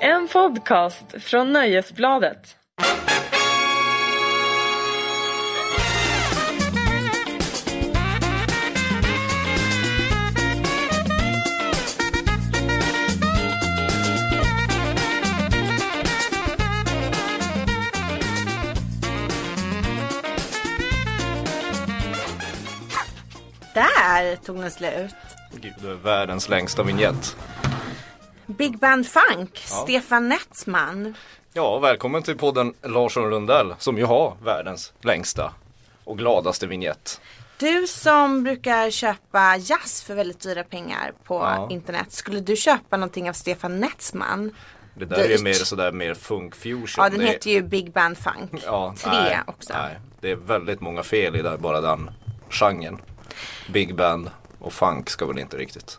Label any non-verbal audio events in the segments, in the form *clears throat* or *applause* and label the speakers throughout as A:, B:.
A: En podcast från Nöjesbladet.
B: Där tog den slut.
C: Gud, du är världens längsta vignett.
B: Big Band Funk, Stefan Netsman.
C: Ja, välkommen till podden Larsson Lundell som ju har världens längsta och gladaste vignett.
B: Du som brukar köpa jazz för väldigt dyra pengar på
C: Ja.
B: internet. Skulle du köpa någonting av Stefan Netsman?
C: Det där är ju
B: Dyrt.
C: mer sådär mer funk fusion.
B: Ja, den
C: Det är-
B: heter ju Big Band Funk.
C: ja,
B: Tre
C: nej,
B: också.
C: Nej, det är väldigt många fel i där, bara den genren. Big band och funk ska väl
B: *laughs*
C: inte riktigt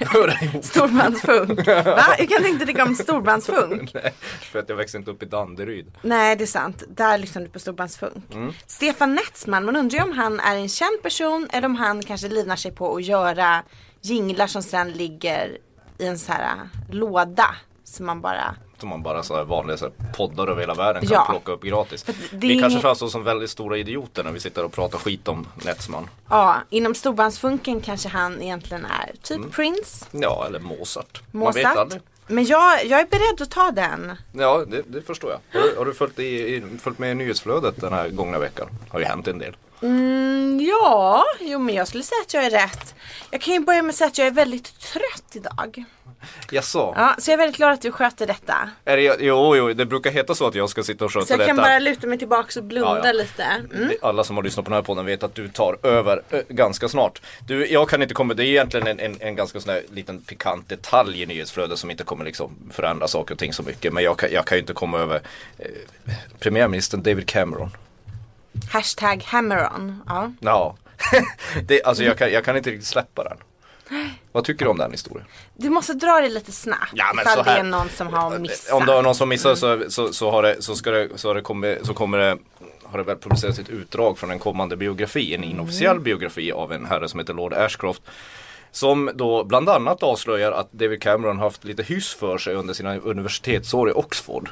C: höra ihop. *laughs*
B: Storbandsfunk. Va? Hur kan du inte tycka om storbandsfunk?
C: Nej, För att jag växte inte upp i Danderyd.
B: Nej, det är sant. Där lyssnar du på storbandsfunk.
C: Mm.
B: Stefan Netsman, man undrar ju om han är en känd person eller om han kanske livnar sig på att göra jinglar som sen ligger i en så här äh, låda. Som man bara
C: Som man bara så här vanliga så här poddar över hela världen kan
B: Ja.
C: plocka upp gratis.
B: det är
C: Vi kanske
B: inget-
C: framstår som väldigt stora idioter när vi sitter och pratar skit om Netsman.
B: Ja, inom storbandsfunken kanske han egentligen är typ Prince,
C: Ja, eller Mozart. Mm. Man vet
B: Mozart.
C: aldrig.
B: Men jag, jag är beredd att ta den.
C: Ja, det, det förstår jag. Har du, har du följt, i, i, följt med i nyhetsflödet den här gångna veckan? har ju hänt en del.
B: Mm, ja, jo men jag skulle säga att jag är rätt. Jag kan ju börja med att säga att jag är väldigt trött idag.
C: Jaså?
B: Ja, så jag är väldigt glad att du sköter detta.
C: Är det, jo, jo, det brukar heta så att jag ska sitta och sköta
B: Så jag
C: detta.
B: kan bara luta mig tillbaka och blunda
C: Ja, ja.
B: lite. Mm.
C: Det- Alla som har lyssnat på den här podden vet att du tar över ö, ganska snart. Du, jag kan inte komma, det är egentligen en, en, en ganska sån här liten pikant detalj i nyhetsflödet som inte kommer liksom förändra saker och ting så mycket. Men jag kan, jag kan ju inte komma över eh, premiärministern David Cameron.
B: Hashtag hammeron. Ja.
C: Ja, *laughs* det, alltså jag kan, jag kan inte riktigt släppa den. Vad tycker du om den historien?
B: Du måste dra det lite snabbt
C: Ja, men
B: ifall
C: så här- Eh,
B: det är någon som har missat.
C: Om det är någon som missar så, så, så, har det, så, ska det, så, har det kommit, så kommer det har det väl publicerats ett utdrag från en kommande biografi, en inofficiell biografi av en herre som heter Lord Ashcroft. Som då bland annat avslöjar att David Cameron haft lite hyss för sig under sina universitetsår i Oxford.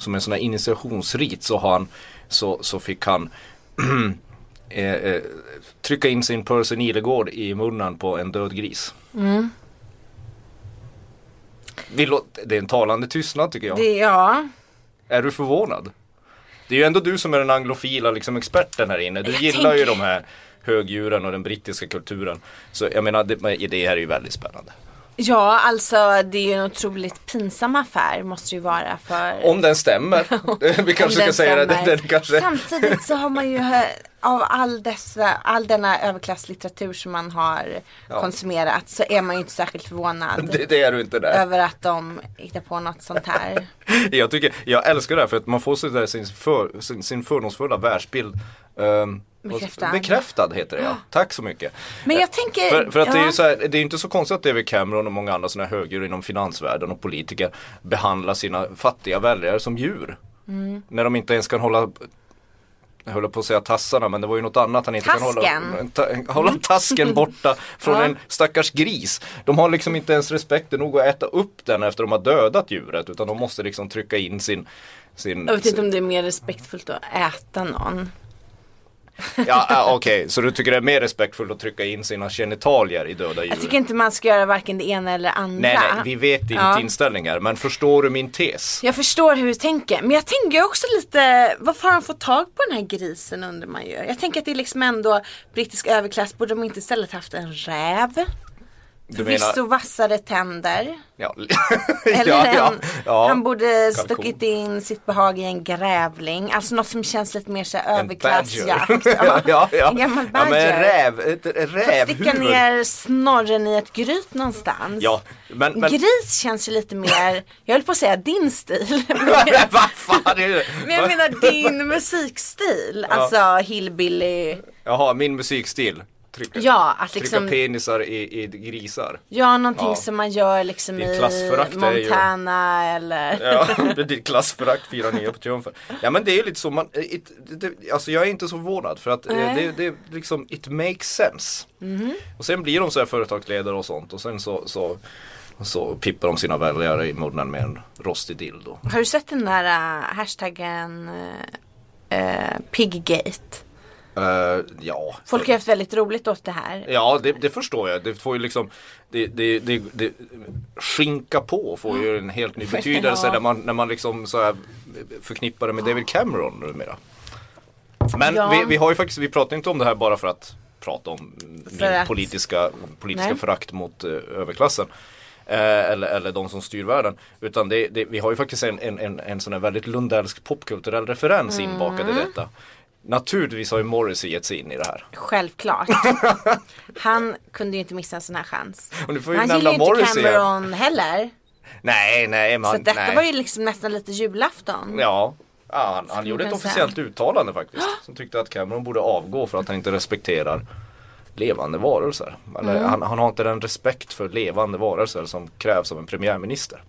C: Som en sån här initiationsrit så, har han, så, så fick han eh, eh, trycka in sin Percy Nilegård i munnen på en död gris.
B: Mm.
C: Vi låter, det är en talande tystnad tycker jag.
B: Det, ja.
C: Är du förvånad? Det är ju ändå du som är den anglofila liksom, experten här inne. Du
B: Jag
C: gillar
B: tänker-
C: ju de här högdjuren och den brittiska kulturen. Så jag menar, det, men det här är ju väldigt spännande.
B: ja, alltså det är ju en otroligt pinsam affär måste det ju vara för
C: Om
B: *laughs*
C: den stämmer. *laughs* vi
B: Om
C: kanske
B: den
C: ska säga det. Den,
B: stämmer.
C: *laughs* den kanske...
B: Samtidigt så har man ju hö- av all, dessa, all denna överklasslitteratur som man har
C: Ja.
B: konsumerat så är man ju inte särskilt förvånad
C: Det, det är du inte där.
B: över att de hittar på något sånt här.
C: *laughs* Jag, tycker, jag älskar det här för att man får så där sin, för, sin, sin fördomsfulla världsbild ehm,
B: Bekräftad.
C: bekräftad heter det ja. Tack så mycket.
B: Men jag tänker,
C: För, för att det är
B: ja.
C: ju så här, det är ju inte så konstigt att David Cameron och många andra sådana här högdjur inom finansvärlden och politiker behandlar sina fattiga väljare som djur.
B: Mm.
C: När de inte ens kan hålla jag höll på att säga tassarna men det var ju något annat han inte kan
B: Tasken. Mm.
C: hålla. Ta, hålla tasken borta från
B: *laughs* Ja.
C: en stackars gris. De har liksom inte ens respekten nog att äta upp den efter de har dödat djuret utan de måste liksom trycka in sin, sin
B: jag vet inte om det är mer respektfullt att äta någon.
C: Ja, ja, okej, så du tycker det är mer respektfullt att trycka in sina genitalier i döda djur?
B: Jag tycker inte man ska göra varken det ena eller det andra.
C: Nej, nej, vi vet inte
B: Ja.
C: inställningar. Men förstår du min tes?
B: Jag förstår hur du tänker, men jag tänker också lite, varför har de fått tag på den här grisen undrar man ju. Jag tänker att det är liksom ändå brittisk överklass, borde de inte istället haft en räv?
C: Du
B: Förvisso vassare tänder.
C: Ja,
B: Eller
C: *laughs* ja,
B: en,
C: ja, ja.
B: han borde
C: Kalkon.
B: stuckit in sitt behag i en grävling. Alltså något som känns lite mer så här
C: En badger. *laughs*
B: överklassjakt.
C: ja, ja, ja.
B: En gammal
C: Ja, men en
B: badger.
C: räv, ett ett
B: Fått Sticka
C: rävhuvud.
B: ner snorren i ett gryt någonstans.
C: Ja, men, men,
B: Gris känns ju lite mer, jag höll på att säga din stil. *laughs*
C: *laughs* men vad fan är det?
B: Men jag menar
C: *laughs*
B: din musikstil, alltså hillbilly.
C: Jaha, min musikstil. Trycka,
B: Ja, att liksom-
C: trycka penisar i, i grisar.
B: Ja, någonting
C: Ja.
B: som man gör liksom
C: Det är
B: i
C: klassförakt, det är ju-
B: Montana eller
C: Ja, *laughs* det är ditt klassförakt, fyra nya på triumfer. Ja men det är ju lite så, man, eh, it, det, alltså jag är inte så förvånad för att eh, det, det är liksom, it makes sense. Och sen blir de så här företagsledare och sånt och sen så, så Och så pippar de sina väljare i munnen med en rostig dildo.
B: Har du sett den där eh, hashtaggen eh, Piggate?
C: Eh, ja.
B: Folk har haft väldigt roligt åt det här.
C: Ja, det, det förstår jag. Det får ju liksom det, det, det, det, Skinka på får ju en helt ny
B: *laughs*
C: betydelse
B: Ja.
C: när man, när man liksom så här förknippar det med David Cameron numera. Men
B: Ja.
C: vi, vi har ju faktiskt, vi pratar inte om det här bara för att prata om
B: För
C: min
B: att-
C: politiska, politiska
B: Nej.
C: förakt mot eh, överklassen. Eh, eller, eller de som styr världen. Utan det, det, vi har ju faktiskt en, en, en, en sån här väldigt lundellsk popkulturell referens inbakad
B: Mm.
C: i detta. Naturligtvis har ju Morrissey gett sig in i det här.
B: Självklart.
C: *laughs*
B: Han kunde ju inte missa en sån här chans.
C: Och du får ju
B: Han
C: nämna
B: gillar ju inte
C: Morrissey här.
B: Cameron heller.
C: Nej, nej,
B: Så
C: man,
B: att detta
C: nej.
B: var ju liksom nästan lite julafton.
C: Ja, ja han, han gjorde ett
B: kunna säga.
C: officiellt uttalande faktiskt. Som tyckte att Cameron borde avgå för att han inte respekterar levande varelser. Eller,
B: Mm.
C: han, han har inte den respekt för levande varelser som krävs av en premiärminister.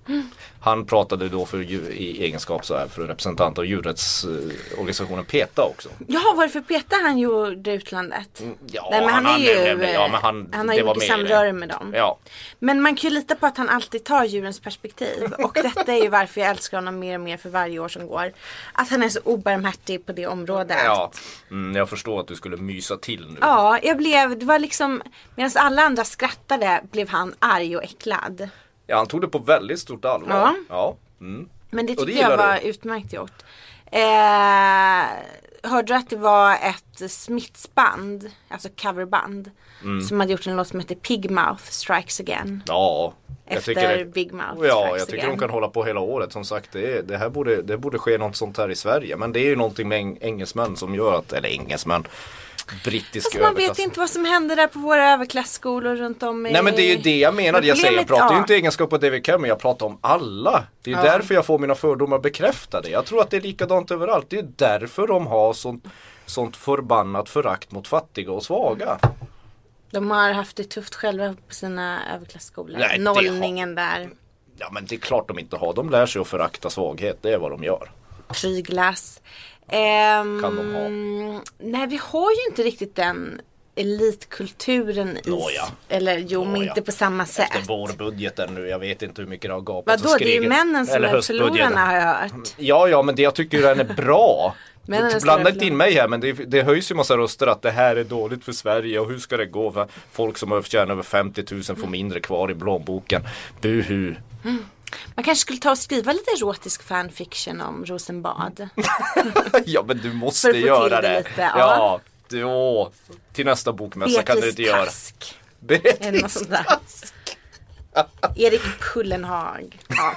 C: Han pratade då för, djur- i egenskap så här, för representant av djurrättsorganisationen PETA också.
B: Jaha, vad är det för peta han gjorde i utlandet?
C: Mm, Ja,
B: Nej, men han, är ju,
C: ja, men han,
B: han har
C: det
B: ju
C: var
B: mycket
C: med i det.
B: samröre med dem.
C: Ja,
B: Men man kan ju lita på att han alltid tar djurens perspektiv. Och detta är ju varför jag älskar honom mer och mer för varje år som går. Att han är så obarmhärtig på det området.
C: ja. Mm, jag förstår att du skulle mysa till nu.
B: Ja, jag blev, det var liksom, medan alla andra skrattade blev han arg och äcklad.
C: Ja, han tog det på väldigt stort allvar.
B: Ja.
C: Ja. Mm.
B: Men det
C: Och det
B: tyckte jag
C: gillar
B: var
C: du?
B: utmärkt gjort. Eh, hörde du att det var ett smittsband, alltså coverband,
C: Mm.
B: som hade gjort en låt som heter Pig Mouth Strikes Again.
C: Ja, jag
B: Efter
C: tycker det,
B: Big Mouth
C: Ja,
B: Strikes
C: jag tycker
B: Again.
C: de kan hålla på hela året. Som sagt, det, är- det här borde, det borde ske något sånt här i Sverige. Men det är ju någonting med eng- engelsmän som gör att, eller engelsmän, brittisk
B: Alltså man vet
C: överklass.
B: ju inte vad som händer där på våra överklassskolor runt om i...
C: Nej men det är ju det jag menar. Jag, säger, jag
B: Problemet-
C: pratar ju
B: ja.
C: inte i egenskap av David Cameron, jag pratar om alla. Det är ju därför jag får mina fördomar bekräftade. Jag tror att det är likadant överallt. Det är därför de har sånt, sånt förbannat förakt mot fattiga och svaga.
B: De har haft det tufft själva på sina överklassskolor.
C: Nej, det har-
B: Nollningen där,
C: Ja men det är klart de inte har. De lär sig att förakta svaghet, det är vad de gör.
B: pryglas. Ehm,
C: Kan de ha.
B: Nej vi har ju inte riktigt den elitkulturen i...
C: Nåja.
B: Eller jo men
C: Nåja.
B: inte på samma sätt.
C: Efter vårbudgeten nu, jag vet inte hur mycket det har gapat
B: Vadå
C: och
B: det är ju
C: skrikit.
B: männen som
C: Eller
B: är
C: höstbudgeten.
B: förlorarna har jag hört.
C: Ja, ja, men det jag tycker
B: *laughs*
C: den är bra.
B: Männen är
C: Du
B: stora
C: Blanda inte in
B: förlorare.
C: mig här, men det, det höjs ju massa röster att det här är dåligt för Sverige och hur ska det gå? För folk som har tjänat över 50 000 får mindre kvar i plånboken. Buhu. *laughs*
B: Man kanske skulle ta och skriva lite erotisk fanfiction om
C: *laughs*
B: Rosenbad.
C: ja, men du måste
B: För att få
C: göra
B: till det
C: det.
B: lite, ja.
C: ja. du- åh. Till nästa bokmässa kan du inte göra.
B: Task. Eller något
C: Beatrice
B: sånt där. Erik Pullenhag. Ja,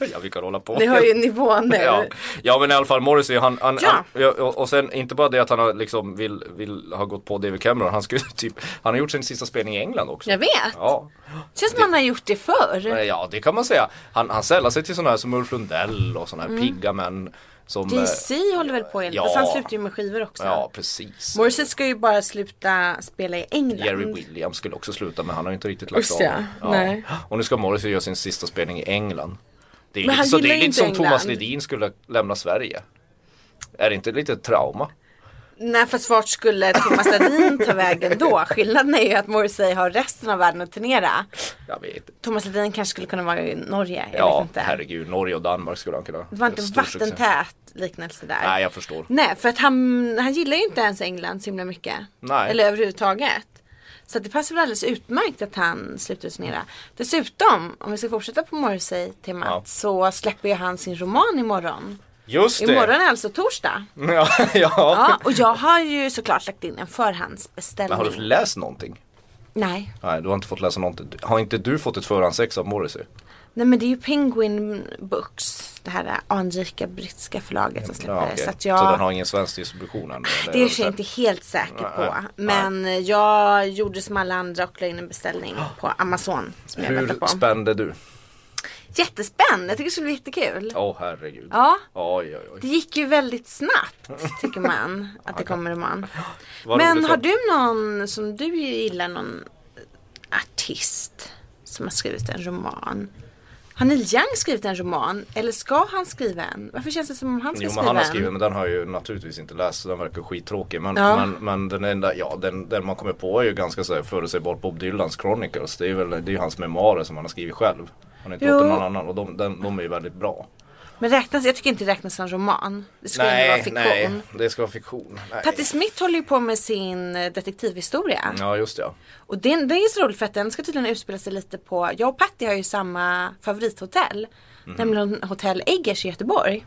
C: *laughs* Ja, vi kan hålla på.
B: ni hör ju nivån nu.
C: *laughs* Ja. ja men i alla fall Morrissey han, han,
B: Ja.
C: han ja, och och sen inte bara det att han har liksom vill, vill ha gått på David Cameron, han skulle *laughs* typ, han har gjort sin sista spelning i England också.
B: Jag vet.
C: Ja,
B: Känns som man har gjort det förr.
C: Nej, ja det kan man säga. Han, han sällar sig till sådana här som Ulf Lundell och
B: Mm.
C: sådana här pigga män som... eh,
B: JC håller väl på enligt,
C: Ja.
B: fast han slutar ju med skivor också.
C: Ja precis.
B: Morrissey ska ju bara sluta spela i England.
C: Jerry Williams skulle också sluta men han har ju inte riktigt lagt
B: Usch,
C: av.
B: ja. Nej.
C: Och nu ska Morrissey göra sin sista spelning i England. Det är
B: Men
C: lite,
B: han
C: så det
B: gillar
C: är
B: ju
C: lite som
B: inte
C: Thomas
B: England.
C: Ledin skulle lämna Sverige. Är det inte lite trauma?
B: Nej fast vart skulle Thomas Ledin ta vägen
C: *laughs*
B: då? Skillnaden är ju att Morrissey har resten av världen att turnera.
C: Jag vet inte.
B: Thomas Ledin kanske skulle kunna vara i Norge. Jag vet
C: Ja,
B: inte.
C: herregud. Norge och Danmark skulle han kunna.
B: Det var inte
C: Stor succé.
B: vattentät liknelse där.
C: Nej, jag förstår.
B: Nej, för att han, han gillar ju inte ens England så himla mycket.
C: Nej.
B: Eller överhuvudtaget. Så att det passar väl alldeles utmärkt att han slutar turnera. Dessutom, om vi ska fortsätta på Morrissey-temat,
C: Ja.
B: så släpper ju han sin roman imorgon.
C: Just det.
B: Imorgon är alltså torsdag.
C: *laughs* Ja, ja.
B: Ja, och jag har ju såklart lagt in en
C: Men
B: förhandsbeställning.
C: har du läst någonting?
B: Nej.
C: Nej, du har inte fått läsa någonting. Har inte du fått ett förhandsex av
B: Eh,
C: Morrissey?
B: Nej men det är ju Penguin Books, det här anrika brittiska förlaget som släpper
C: Ja,
B: det.
C: okej.
B: Så att jag...
C: så den har ingen svensk distribution än?
B: Det är
C: eller?
B: jag i och för sig inte helt säker på.
C: Nej.
B: Men jag gjorde som alla andra och la in en beställning på Amazon. Som jag väntar
C: Hur
B: på.
C: spände du?
B: Jättespänd, jag tycker det skulle bli jättekul.
C: Åh herregud.
B: Ja.
C: Oj, oj, oj.
B: Det gick ju väldigt snabbt tycker man att det kommer roman.
C: Vad
B: Men
C: roligt
B: har
C: för-
B: du någon som du gillar någon artist som har skrivit en roman? Har Neil Young skrivit en roman? Eller ska han skriva en? Varför känns det som om han ska
C: Jo men
B: skriva
C: han har
B: en?
C: skrivit men den har jag ju naturligtvis inte läst så den verkar skittråkig. Men,
B: Ja.
C: men, men den enda, ja den, den man kommer på är ju ganska så här förutsägbart Bob Dylans Chronicles. Det är väl, det är ju hans memoarer som han har skrivit själv. Han har inte
B: Jo.
C: låtit någon annan och de, den, de är ju väldigt bra.
B: Men räknas, jag tycker inte det räknas som roman. Det skulle ju vara
C: Nej,
B: fiktion.
C: nej, det ska vara fiktion. Nej.
B: Patti Smith håller ju på med sin eh, detektivhistoria.
C: Ja just det, ja.
B: Och den, den är så rolig för att den ska tydligen utspela sig lite på, jag och Patti har ju samma favorithotell.
C: Mhm.
B: Nämligen Hotell Eggers i Göteborg.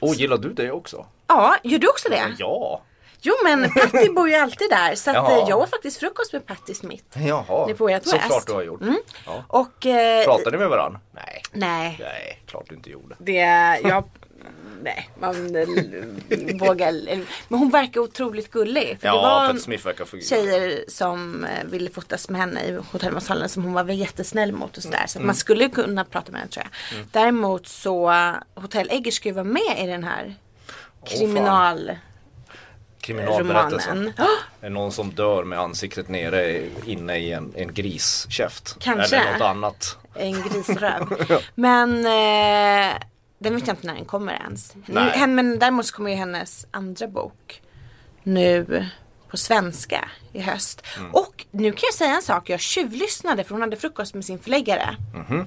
C: Och gillar du det också?
B: Ja, gör du också det?
C: Ja!
B: Jo men Patti bor ju alltid där så att
C: Jaha.
B: eh, jag åt faktiskt frukost med Patti Smith.
C: Jaha,
B: Det är på ert
C: såklart
B: West.
C: du har gjort. Ja.
B: Och eh,
C: Pratar ni med varandra? Nej.
B: nej.
C: Nej, klart du inte gjorde.
B: Det, jag, nej, man eh, vågar. eller- Men hon verkar otroligt gullig. För det
C: Ja,
B: var
C: Patti Smith verkar fungera.
B: tjejer som eh, ville fotas med henne i hotellmatsalen som hon var väl jättesnäll mot och sådär.
C: Mm.
B: Så att man skulle ju kunna prata med henne tror jag. Däremot så, Hotell Eggers ska ju vara med i den här
C: fan.
B: kriminalromanen.
C: Kriminalberättelsen.
B: *gasps*
C: Är någon som dör med ansiktet nere inne i en, en griskäft.
B: Kanske.
C: Eller något annat.
B: En
C: *laughs*
B: grisröv. Men eh, den vet jag inte när den kommer ens.
C: Nej.
B: Hen- Men däremot så kommer ju hennes andra bok nu på svenska i höst.
C: Mm.
B: Och nu kan jag säga en sak. Jag tjuvlyssnade för hon hade frukost med sin förläggare.
C: Mhm.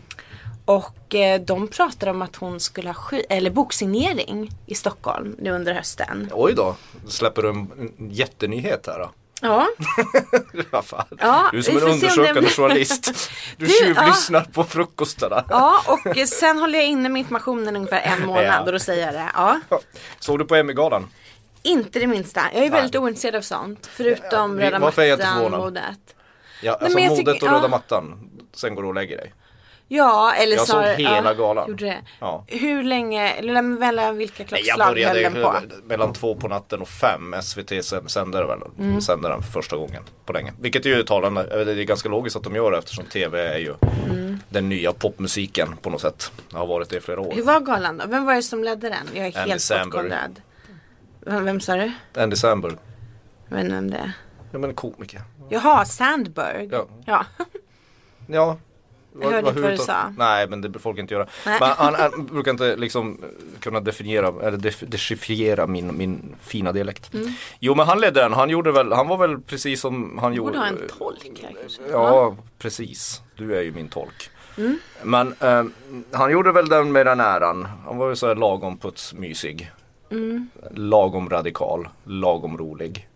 B: Och eh, de pratade om att hon skulle ha sky- eller boksignering i Stockholm nu under hösten.
C: Oj då, släpper du en, en jättenyhet här då? *laughs*
B: Ja,
C: Vad fan.
B: Ja,
C: du är som
B: vi
C: en
B: får se om det- *laughs*
C: undersökande journalist. Du,
B: Du,
C: tjuvlyssnar på frukostarna.
B: ja och eh, sen håller jag inne med informationen ungefär en månad
C: *laughs* Ja.
B: och då säger jag det. Ja.
C: Såg du på Emmygalan?
B: Inte det minsta. Jag är väldigt ointresserad av sånt. Förutom
C: vi-
B: Röda
C: varför är jag inte
B: mattan,
C: förvånad?
B: modet.
C: Ja, alltså
B: men jag
C: modet
B: tycker-
C: och röda
B: ja.
C: mattan. Sen går du och lägger dig.
B: Ja, eller
C: Jag
B: så
C: såg
B: har-
C: hela
B: ja,
C: galan.
B: Gjorde det.
C: Ja.
B: Hur länge, eller när- mellan vilka
C: Nej, jag
B: klockslag höll
C: började
B: den på?
C: ju mellan två på natten och fem. SVT sänder, väl,
B: Mm.
C: sänder den för första gången på länge. Vilket är ju talande. Eh, Det är ganska logiskt att de gör det eftersom TV är ju
B: Mm.
C: den nya popmusiken på något sätt. Det har varit det i flera år.
B: Hur var galan då? Vem var det som ledde den? Jag är
C: Andy
B: helt
C: Samberg.
B: bortkollrad. Vem, vem sa du?
C: Andy Samberg.
B: Jag vet inte vem det är.
C: Ja men komiker.
B: Jaha, Sandberg.
C: Ja. *laughs*
B: ja.
C: Ja.
B: Jag hörde inte vad du
C: huvudtal-
B: sa.
C: Nej men det får folk inte göra.
B: Nej.
C: Men han, han brukar inte liksom eh, kunna definiera eller def- dechiffrera min, min fina dialekt.
B: Mm.
C: Jo men han ledde den. Han gjorde väl, han var väl precis som han gjorde.
B: Borde ha en tolk här kanske.
C: eh, Ja, precis. Du är ju min tolk.
B: Mm.
C: Men eh, han gjorde väl den med den äran. Han var ju så här lagom putsmysig.
B: Mm.
C: Lagom radikal, lagom rolig.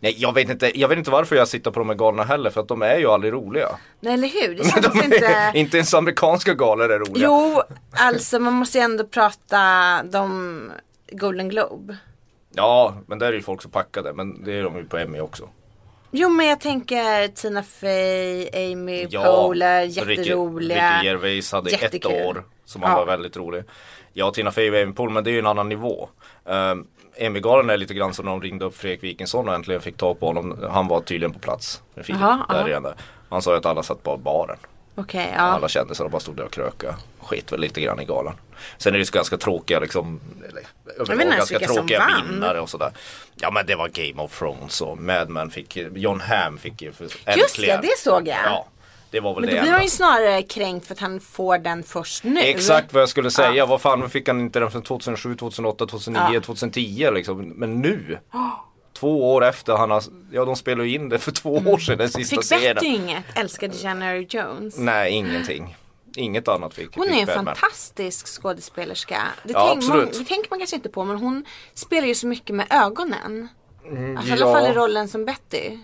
C: Nej jag vet, inte, jag vet inte varför jag sitter på de här galna heller för att de är ju aldrig roliga.
B: Nej eller hur?
C: *laughs*
B: Det känns inte...
C: inte ens amerikanska galor är roliga.
B: Jo, alltså man måste ju ändå prata de Golden Globe.
C: Ja men där är ju folk så packade men det är de ju på Emmy också.
B: Jo men jag tänker Tina Fey, Amy Poehler, jätteroliga.
C: Ricky, Ricky Gervais hade
B: Jättekul.
C: ett år som han
B: Ja.
C: var väldigt rolig. Ja, Tina Fey och Amy Poehler, men det är ju en annan nivå. Um, Emmy-galan är lite grann som när de ringde upp Fredrik Wikingsson och äntligen fick tag på honom. Han var tydligen på plats. Med Filip,
B: Aha,
C: där
B: aha.
C: igen där. Han sa ju att alla satt på baren.
B: Okej, ja.
C: Alla kändisar bara stod där och kröka. Skit väl lite grann i galan. Sen är det ju ganska tråkiga liksom, eller, överlag
B: ens
C: ganska
B: vilka som
C: tråkiga
B: vann.
C: vinnare och sådär. Ja men det var Game of Thrones och Mad Men fick, John Hamm fick ju för,
B: Just
C: äntligen.
B: ja, det såg jag.
C: Ja, det var väl
B: Men
C: det
B: då blir man
C: enda.
B: ju snarare kränkt för att han får den först nu.
C: Exakt vad jag skulle säga, vad fan fick han inte den från 2007, 2008, 2009,
B: Ja.
C: 2010 liksom. Men nu, två år efter han har, ja de spelade ju in det för två år sedan den sista
B: Mm. Fick
C: serien.
B: Betty inget? Älskade January Jones.
C: Nej, ingenting. Inget annat fick
B: Hon är
C: fick
B: ju en
C: Mm, Batman.
B: fantastisk skådespelerska. Det,
C: Ja,
B: tänk, man,
C: absolut.
B: det tänker man kanske inte på men hon spelar ju så mycket med ögonen. Alltså, I alla
C: Mm, ja.
B: fall i rollen som Betty.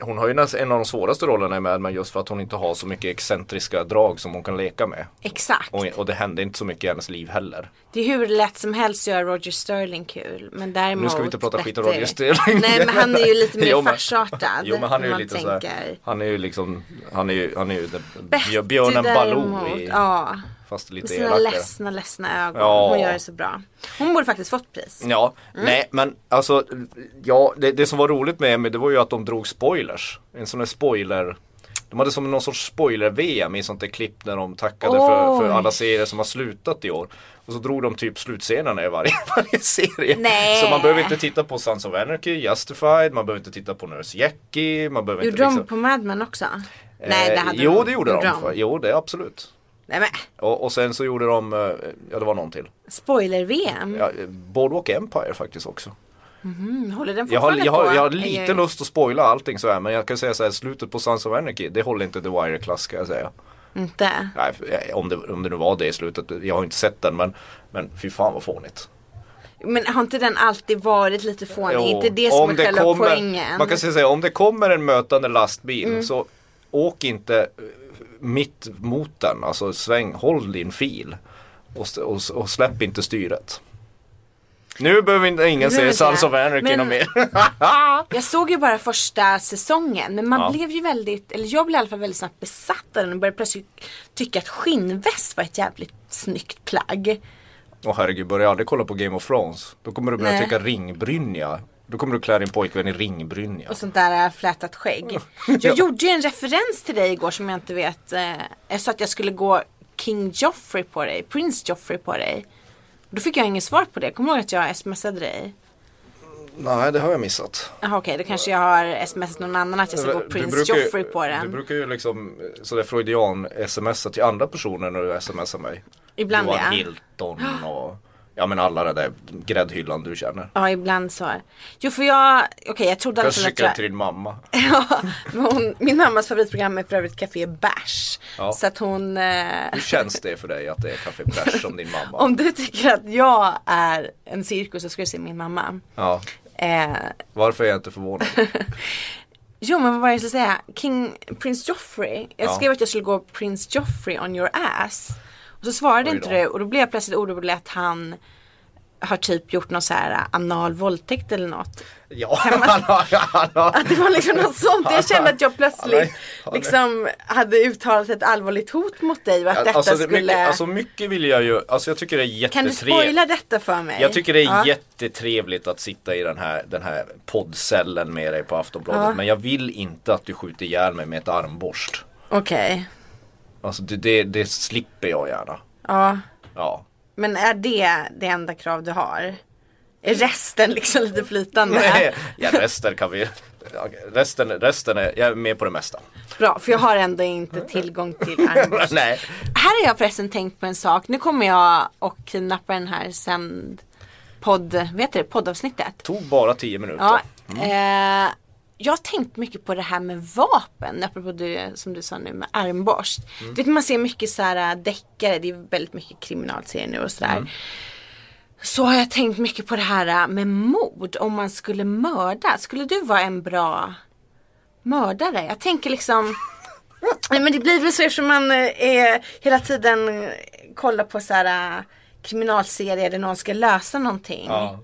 C: Hon har ju nästan en av de svåraste rollerna i Mad Men just för att hon inte har så mycket excentriska drag som hon kan leka med.
B: Exakt.
C: Och, och det hände inte så mycket i hennes liv heller.
B: Det är hur lätt som helst att göra Roger Sterling kul. Men däremot
C: Nu ska vi inte prata skit om
B: Betty-
C: Roger Sterling.
B: Nej men han är ju
C: *laughs*
B: lite
C: Jo,
B: mer
C: men-
B: farsartad.
C: Jo men han är
B: om
C: ju
B: Alltså, man
C: lite
B: tänker.
C: såhär, han är ju liksom, han är ju, han är ju den-
B: Betty
C: björnen Baloo
B: däremot,
C: i,
B: Ja.
C: fast
B: Med
C: lite
B: sina
C: elakare.
B: ledsna, ledsna ögon.
C: Ja. Mm,
B: Hon gör det så bra. Hon borde faktiskt fått pris.
C: Ja,
B: Mm.
C: nej men alltså, ja det, det som var roligt med Emmy det var ju att de drog spoilers. En sån där spoiler, de hade som någon sorts spoiler-VM i sånt där klipp när de tackade för, för
B: Oj.
C: alla serier som har slutat i år. Och så drog de typ slutscenerna i varje, *laughs* varje serie.
B: Nej.
C: Så man behöver inte titta på Sons of Anarchy, Justified, man behöver inte titta på Nurse Jackie, man behöver
B: Gjorde
C: inte liksom- Eh,
B: de på Mad Men också? Nej det hade
C: jo
B: de.
C: det gjorde de. Jo det absolut.
B: Nej men,
C: Och, och sen så gjorde de, eh, ja det var någon till.
B: spoiler-VM.
C: Ja, eh, Boardwalk Empire faktiskt också.
B: Mm, Håller den
C: Jag har,
B: fortfarande
C: jag, har,
B: på?
C: jag har lite
B: Ej, ej.
C: lust att spoila allting så här men jag kan säga så här, slutet på Sons of Anarchy, det håller inte The Wire-klass ska jag säga.
B: Inte?
C: Nej, för- om det, om det nu var det i slutet, jag har inte sett den men, men fy fan vad fånigt.
B: Men har inte den alltid varit lite fånig?
C: Jo,
B: inte det som är själva
C: kommer,
B: poängen? Mm.
C: Man kan säga så här, om det kommer en mötande lastbil så åk inte eh, mitt mot den, alltså sväng, håll din fil och, s- och, s- och släpp inte styret. Nu behöver inte- ingen
B: behöver
C: säga
B: inte
C: Sons
B: det.
C: of Anarchy
B: Men-
C: något mer.
B: Jag såg ju bara första säsongen men man
C: Ja.
B: blev ju väldigt, eller jag blev i alla fall väldigt snabbt besatt av den och började plötsligt tycka att skinnväst var ett jävligt snyggt plagg.
C: Åh herregud, börja aldrig kolla på Game of Thrones. Då kommer du börja
B: Nej.
C: tycka ringbrynja. Då kommer du klä din pojkvän i ringbrynja.
B: Och sånt där äh, flätat skägg. Jag gjorde ju en referens till dig igår som jag inte vet. eh, Jag sa att jag skulle gå King Joffrey på dig, Prince Joffrey på dig. Då fick jag inget svar på det. Kommer du ihåg att jag smsade dig?
C: Nej, det har jag missat.
B: Jaha okej, då kanske jag har smsat någon annan att jag ska gå Prince
C: ju-
B: Alltså, Joffrey på den.
C: Du brukar ju liksom eh, sådär freudian smsa till andra personer när du smsar mig.
B: Ibland
C: Johan
B: ja.
C: Hilton och ja men alla det där gräddhyllan du känner.
B: Ja, ibland så. Jo, för jag, okej jag trodde
C: Jag
B: alltså att
C: skickar
B: jag...
C: till din mamma.
B: *laughs* Ja, men hon, min mammas favoritprogram är för övrigt Café Bash.
C: Ja.
B: Så att hon, eh,
C: Hur känns det för dig att det är Café Bärs som din mamma?
B: om du tycker att jag är en cirkus så ska du se min mamma.
C: Ja,
B: Eh,
C: varför är jag
B: *laughs*
C: inte förvånad?
B: jo men vad var det jag skulle säga? King, Prince Joffrey. Jag
C: Ja.
B: skrev att jag skulle gå Prince Joffrey on your ass. Och så svarade
C: Oj
B: inte
C: då.
B: du och då blev jag plötsligt orolig att han har typ gjort någon så här anal våldtäkt eller något.
C: Ja, han har, han har,
B: Att det var liksom något sånt. Jag kände att jag plötsligt
C: nej, *laughs* ja, nej.
B: liksom hade uttalat ett allvarligt hot mot dig och att detta
C: alltså, det,
B: skulle
C: mycket, alltså mycket vill jag ju, alltså jag tycker det är
B: Kan du
C: jättetrevligt.
B: spoila detta för mig?
C: Jag tycker det är
B: ja.
C: jättetrevligt att sitta i den här, den här poddcellen med dig på Aftonbladet.
B: Ja.
C: Men jag vill inte att du skjuter ihjäl mig med ett armborst.
B: Okej,
C: Alltså det, det, det slipper jag gärna.
B: ja.
C: Ja.
B: Men är det det enda krav du har? Är resten liksom lite flytande?
C: Nej, *laughs* ja, resten kan vi... ja, Resten, resten är, jag är med på det mesta.
B: Bra, för jag har ändå inte tillgång
C: *laughs*
B: till armborst.
C: Nej.
B: Här har jag förresten tänkt på en sak. Nu kommer jag och kidnappa den här sänd podd, vet du det, poddavsnittet.
C: Tog bara 10 minuter. Mm.
B: Ja, eh, jag har tänkt mycket på det här med vapen, apropå det som du sa nu med armborst.
C: Mm.
B: Du vet man ser mycket så här äh, deckare, det är väldigt mycket kriminalserier nu och
C: Mm.
B: sådär. Så har jag tänkt mycket på det här äh, med mord, om man skulle mörda. Skulle du vara en bra mördare? Jag tänker
C: *laughs*
B: liksom Nej men det blir väl så eftersom man eh, är, hela tiden eh, kollar på så här äh, kriminalserier där någon ska lösa någonting.
C: Ja.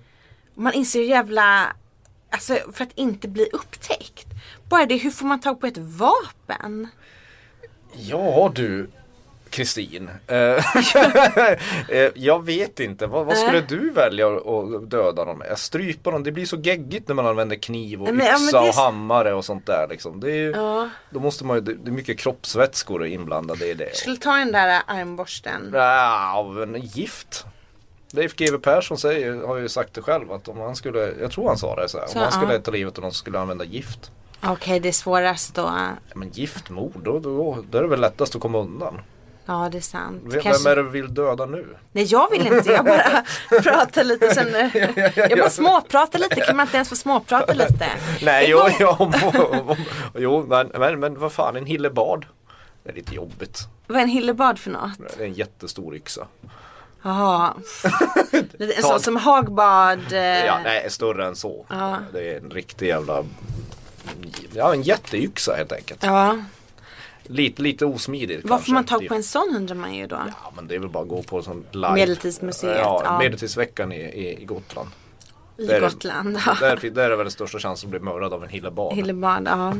B: Man inser ju jävla, alltså för att inte bli upptäckt. Bara det, hur får man tag på ett vapen?
C: Ja du, Kristin. Eh, *laughs* eh, jag vet inte, vad, vad skulle
B: Nej.
C: du välja att döda någon med? Strypa någon, det blir så geggigt när man använder kniv och
B: Men- ja, men
C: yxa
B: det är
C: och
B: så-
C: hammare och sånt där liksom. Det är ju,
B: Ja.
C: Då måste man ju, det det är mycket kroppsvätskor inblandade i det.
B: Jag skulle ta den där äh, armborsten.
C: Ja, men gift. Leif GW Persson säger, har ju sagt det själv att om han skulle, jag tror han sa det så här,
B: Så,
C: om han
B: ja.
C: skulle ta livet av någon så skulle han använda gift.
B: Okej, det är svårast då.
C: Ja, Men giftmord, då, då, då är det väl lättast att komma undan.
B: Ja, det är sant.
C: Vem,
B: Kanske...
C: vem är det du vill döda nu?
B: Nej, jag vill inte. Jag
C: *laughs*
B: bara pratar lite. Sen... Jag bara småpratar lite. Kan man inte ens få småprata lite?
C: Nej, jo, *laughs*
B: Igång-
C: jo, om, om, om, jo men, men, men vad fan, en hillebard. Det är lite jobbigt.
B: Vad är en hillebard för något?
C: Det är en jättestor yxa. *laughs*
B: Jaha. Lite- En
C: Ta-
B: sån som Hagbard. eh,
C: Ja, nej, större än så.
B: Ja.
C: Det är en riktig jävla, ja en jätteyxa helt enkelt.
B: ja.
C: Lite, lite osmidigt
B: Vad
C: kanske.
B: får man
C: Det
B: tag
C: är-
B: på en sån undrar man ju då.
C: Ja men det är väl bara att gå på som live.
B: Medeltidsmuseet,
C: Ja,
B: ja.
C: Medeltidsveckan i, i, i Gotland.
B: I
C: Där är-
B: Gotland. ja.
C: Där, fin- där är väl den största chansen att bli mördad av en hillebarn.
B: Hillebard,
C: *laughs*
B: ja.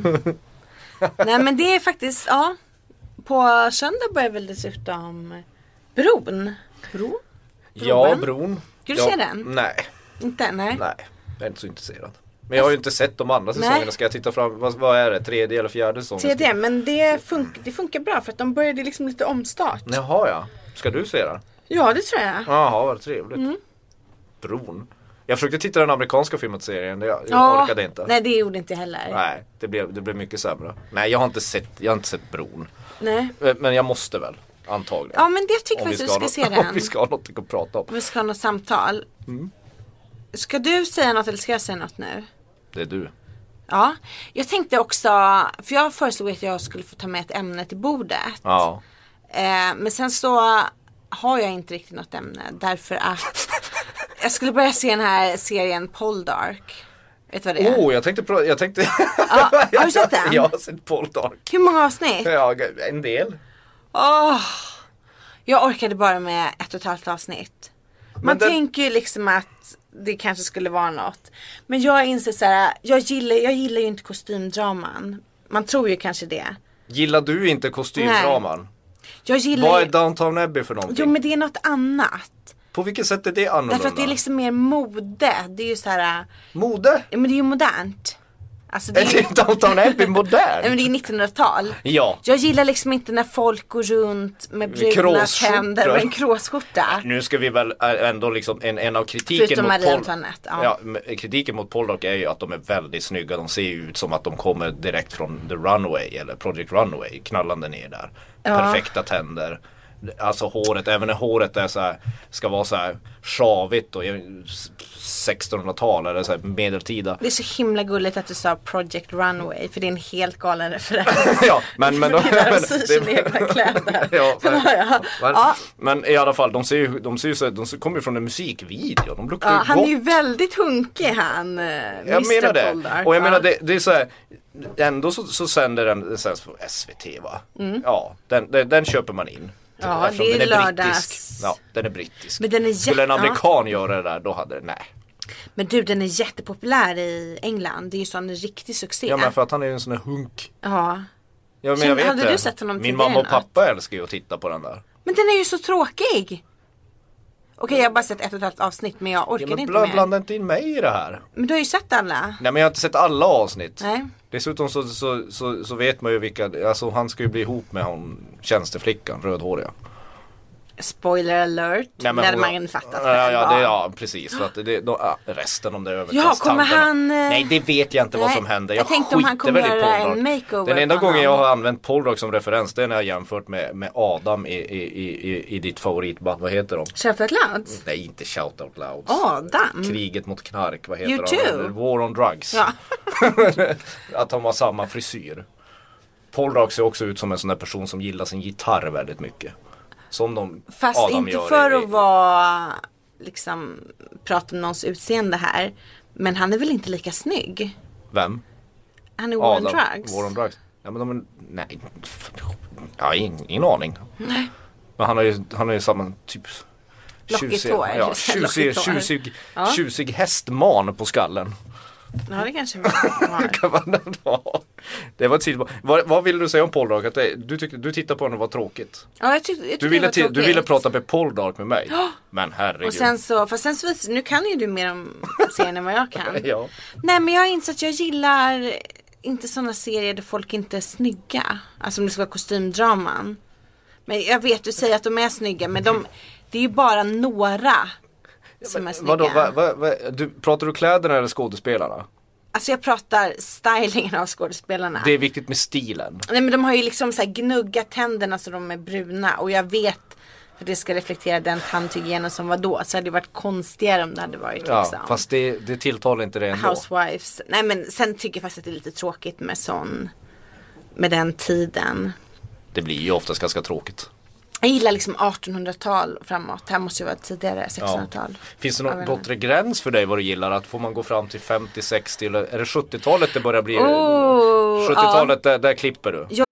B: Nej men det är faktiskt, ja. På söndag börjar väl dessutom bron. Bro?
C: ja,
B: Bron.
C: bron.
B: Ska du
C: ja,
B: se den?
C: Nej,
B: Inte? Nej.
C: nej. Jag är inte så intresserad. Men jag har ju inte sett de andra säsongerna. Ska jag titta fram, vad, vad är det? Tredje eller fjärde säsongen?
B: Tredje, men det, fun- det funkar bra för att de började liksom lite omstart.
C: Jaha ja. Ska du se den?
B: Ja det tror jag.
C: Jaha, vad trevligt.
B: Mm.
C: Bron. Jag försökte titta den amerikanska filmatiseringen. Jag, jag orkade inte.
B: Nej det gjorde inte jag heller. Nej.
C: Nej, det blev, det blev mycket sämre. Nej, jag har inte sett, jag har inte sett Bron. Eh, Men jag måste väl. Antagligen.
B: Ja men det tycker
C: om, vi
B: faktiskt
C: ska
B: du
C: ha
B: ska
C: något, *laughs*
B: se
C: om
B: den.
C: vi ska Mm. ha någonting att prata om.
B: Vi ska ha något samtal. Ska du säga något eller ska jag säga något nu?
C: Det är du.
B: Ja, jag tänkte också, för jag föreslog att jag skulle få ta med ett ämne till bordet.
C: Ja.
B: Eh, men sen så har jag inte riktigt något ämne därför
C: *laughs*
B: att jag skulle börja se den här serien Poldark. Vet du vad det är?
C: Oh, jag tänkte, pra- jag tänkte
B: Ja, har du sett den?
C: *laughs* Jag har sett Paul Dark.
B: Hur många avsnitt?
C: Ja, en del.
B: Åh, jag orkade bara med ett och ett halvt avsnitt. Man
C: den-
B: tänker ju liksom att det kanske skulle vara något. Men jag inser så här, jag gillar, jag gillar ju inte kostymdraman. Man tror ju kanske det.
C: Gillar du inte kostymdraman?
B: Jag gillar
C: Vad är
B: ju...
C: Downtown Abbey för någonting?
B: Jo men det är något annat.
C: På vilket sätt är det annorlunda?
B: Därför att det är liksom mer mode. Det är ju så här,
C: Mode?
B: ja, men det är ju modernt. Alltså det
C: Är
B: är,
C: *laughs* det
B: *laughs*
C: Downtown Abbey
B: nej, men
C: modern?
B: det är 1900-tal.
C: Ja.
B: Jag gillar liksom inte när folk går runt med bruna
C: kråsskjortor.
B: tänder och en kråsskjorta.
C: Nu ska vi väl ä- ändå liksom, en, en av kritiken
B: Förutom
C: mot
B: Marie
C: Paul-
B: Antoinette, ja.
C: Ja, men kritiken mot Pollock är ju att de är väldigt snygga. De ser ju ut som att de kommer direkt från The Runway eller Project Runway knallande ner där. Perfekta tänder. Alltså håret, även när håret är så här, ska vara så här sjavigt och 1600-tal eller så här medeltida.
B: Det är så himla gulligt att du sa Project Runway för det är en helt galen referens.
C: ja, *laughs*
B: *laughs*
C: men, men, de,
B: Det är
C: men *laughs*
B: där de syr sina egna kläder. *laughs*
C: ja, men,
B: Ja,
C: men,
B: ja.
C: men i alla fall, de ser ju, de ser ju så, här- de kommer ju från en musikvideo. De luktar
B: Ja,
C: ju
B: han
C: gott.
B: är ju väldigt hunkig han, eh, Mr
C: Jag menar det.
B: Poldark,
C: och jag
B: va?
C: menar det, det är så här, ändå så, så sänder den sänds på SVT va? Ja, den, den, den köper man in.
B: Mm. Ja,
C: Eftersom
B: det är
C: den är brittisk.
B: lördags.
C: Ja, den är brittisk.
B: Men den är
C: Skulle en
B: jätte-
C: amerikan göra det där då hade det, nej.
B: Men du den är jättepopulär i England. Det är ju sån riktig succé.
C: Ja men för att han är ju en sån där hunk.
B: Ja.
C: Ja, men
B: Känner-
C: jag vet
B: hade
C: det.
B: du sett honom
C: Min
B: tidigare
C: mamma och
B: än att-
C: pappa älskar ju att titta på den där.
B: Men den är ju så tråkig. Okej jag har bara sett ett och ett halvt avsnitt men jag
C: Ja,
B: orkade
C: men
B: inte
C: bla,
B: mer.
C: blanda inte in mig i det här.
B: Men du har ju sett alla.
C: Nej men jag har inte sett alla avsnitt.
B: Nej.
C: Dessutom så, så, så, så vet man ju vilka, alltså han ska ju bli ihop med hon tjänsteflickan, rödhåriga.
B: Spoiler alert.
C: Nej, men
B: när
C: hon-
B: man fattat vad
C: ja,
B: den
C: ja,
B: var.
C: det, ja precis, för att det, då, ja, resten om det är
B: kommer han, eh,
C: Nej det vet jag inte vad
B: Nej,
C: som händer.
B: jag tänkte om han
C: skiter
B: kommer
C: väl i
B: göra en
C: Poldark.
B: makeover
C: Den enda
B: på
C: gången jag
B: honom.
C: har använt Poldark som referens det är när jag jämfört med, med Adam i, i, i, i, i ditt favoritband, vad heter de?
B: Shout out loud.
C: Nej inte Shout Out Louds.
B: Adam.
C: Kriget mot knark, vad heter
B: Mm. You
C: de?
B: too.
C: War on drugs.
B: Ja.
C: *laughs* att de har samma frisyr. Poldark ser också ut som en sån där person som gillar sin gitarr väldigt mycket. Som de
B: Fast
C: Adam
B: inte
C: gör i-
B: för
C: i-
B: att vara liksom prata om någons utseende här. Men han är väl inte lika snygg?
C: Vem?
B: Han är War on
C: Adam.
B: Drugs.
C: War on drugs. Ja, men de är... Nej. Jag har ingen, ingen aning. Men han har ju, han har ju samma typ
B: Lockigt
C: tjusiga-
B: hår. *laughs*
C: ja, tjusig,
B: Lockigt hår.
C: tjusig,
B: Ja.
C: tjusig hästman på skallen.
B: Ja det kanske han
C: *laughs*
B: har.
C: Kan man ha. Det var ett sidospår. vad, vad ville du säga om Poldark? Att det, du, tyckte, du tittade på den och var tråkigt.
B: Ja jag tyckte, jag tyckte
C: Du
B: det
C: ville,
B: var
C: till, du
B: tråkigt.
C: ville prata med Poldark med mig. Men herregud.
B: Och sen så, fast sen så visar, nu kan ju du mer om serien än vad jag kan.
C: *laughs* *laughs* ja.
B: Nej men jag har insett att jag gillar inte sådana serier där folk inte är snygga. Alltså om det ska vara kostymdraman. Men jag vet, du säger att de är snygga men de, det är ju bara några som är snygga.
C: Vadå, vad, vad, vad, du, pratar du kläderna eller skådespelarna?
B: Alltså jag pratar stylingen av skådespelarna.
C: Det är viktigt med stilen.
B: Nej men de har ju liksom så här gnuggat tänderna så de är bruna och jag vet för det ska reflektera den tandhygienen som var då. Så hade det varit konstigare om det hade varit
C: Ja,
B: liksom.
C: fast det, det tilltalar inte det ändå.
B: Housewives. Nej men sen tycker jag faktiskt att det är lite tråkigt med sån. Med den tiden.
C: Det blir ju oftast ganska tråkigt.
B: Jag gillar liksom 1800-tal framåt. Här måste ju vara tidigare 1600-tal.
C: Finns det
B: Jag
C: någon
B: vet inte.
C: bortre gräns för dig vad du gillar? Att får man gå fram till 50, 60 eller är det 70-talet det börjar bli?
B: Oh,
C: 70-talet, där, där klipper du.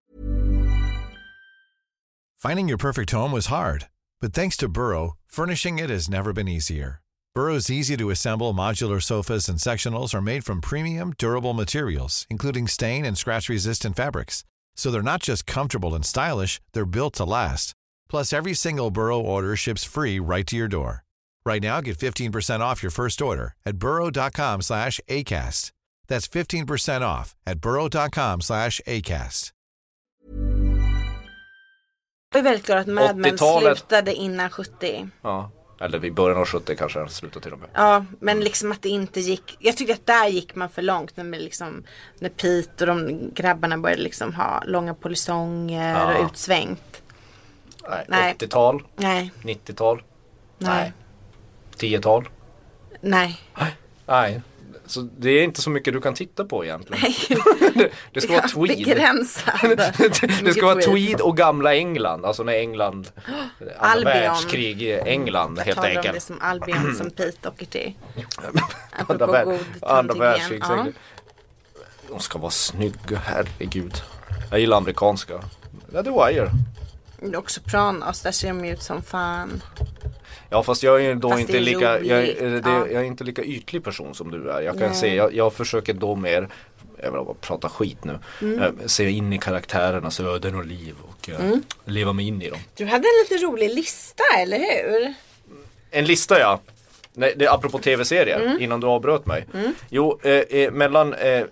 D: Finding your perfect home was hard, but thanks to Burrow, furnishing it has never been easier. Burrow's easy to assemble modular sofas and sectionals are made from premium, durable materials, including stain and scratch resistant fabrics. So they're not just comfortable and stylish, they're built to last. Plus, every single Burrow order ships free right to your door. Right now, get 15% off your first order at burrow.com slash ACAST. That's 15% off at burrow.com slash ACAST.
B: Jag är väldigt glad att Mad Men
C: 80-talet.
B: slutade innan 70.
C: Ja. Eller i början av 70 kanske den slutar till och med.
B: Ja men liksom att det inte gick. Jag tyckte att där gick man för långt. När, man liksom, när Pete och de grabbarna började liksom ha långa polisonger
C: Ja.
B: och utsvängt.
C: Nej.
B: Nej.
C: 80-tal?
B: Nej,
C: 90-tal?
B: nej,
C: 10-tal?
B: nej.
C: Nej. Så det är inte så mycket du kan titta på egentligen. *laughs* det,
B: *laughs*
C: det ska vara *laughs* tweed.
B: Begränsad.
C: det
B: Mycket
C: ska vara
B: tweed.
C: tweed och gamla England, alltså när England,
B: *gasps*
C: andra
B: Albion.
C: världskrig i England helt
B: talar om det
C: enkelt.
B: som Albion
C: *clears throat*
B: som Pete Doherty.
C: Andra,
B: Apropå
C: värld,
B: god
C: andra
B: tantingen.
C: världskrig.
B: Ja.
C: De ska vara snygga, herregud. Jag gillar amerikanska. Ja, The Wire.
B: Och Sopranos, där ser de ut som fan.
C: Ja fast jag är ju då
B: Fast det
C: inte
B: är
C: lika, jag,
B: roligt,
C: är- det,
B: ja.
C: jag är inte lika ytlig person som du är. Jag kan
B: Nej.
C: se, jag, jag försöker då mer, jag vill bara prata skit nu,
B: Mm.
C: eh, se in i karaktärernas öden och liv och eh,
B: Mm.
C: leva mig in i dem.
B: Du hade en lite rolig lista, eller hur?
C: En lista ja. Nej, det är apropå tv-serier, innan du avbröt mig. Jo, eh, eh, mellan eh,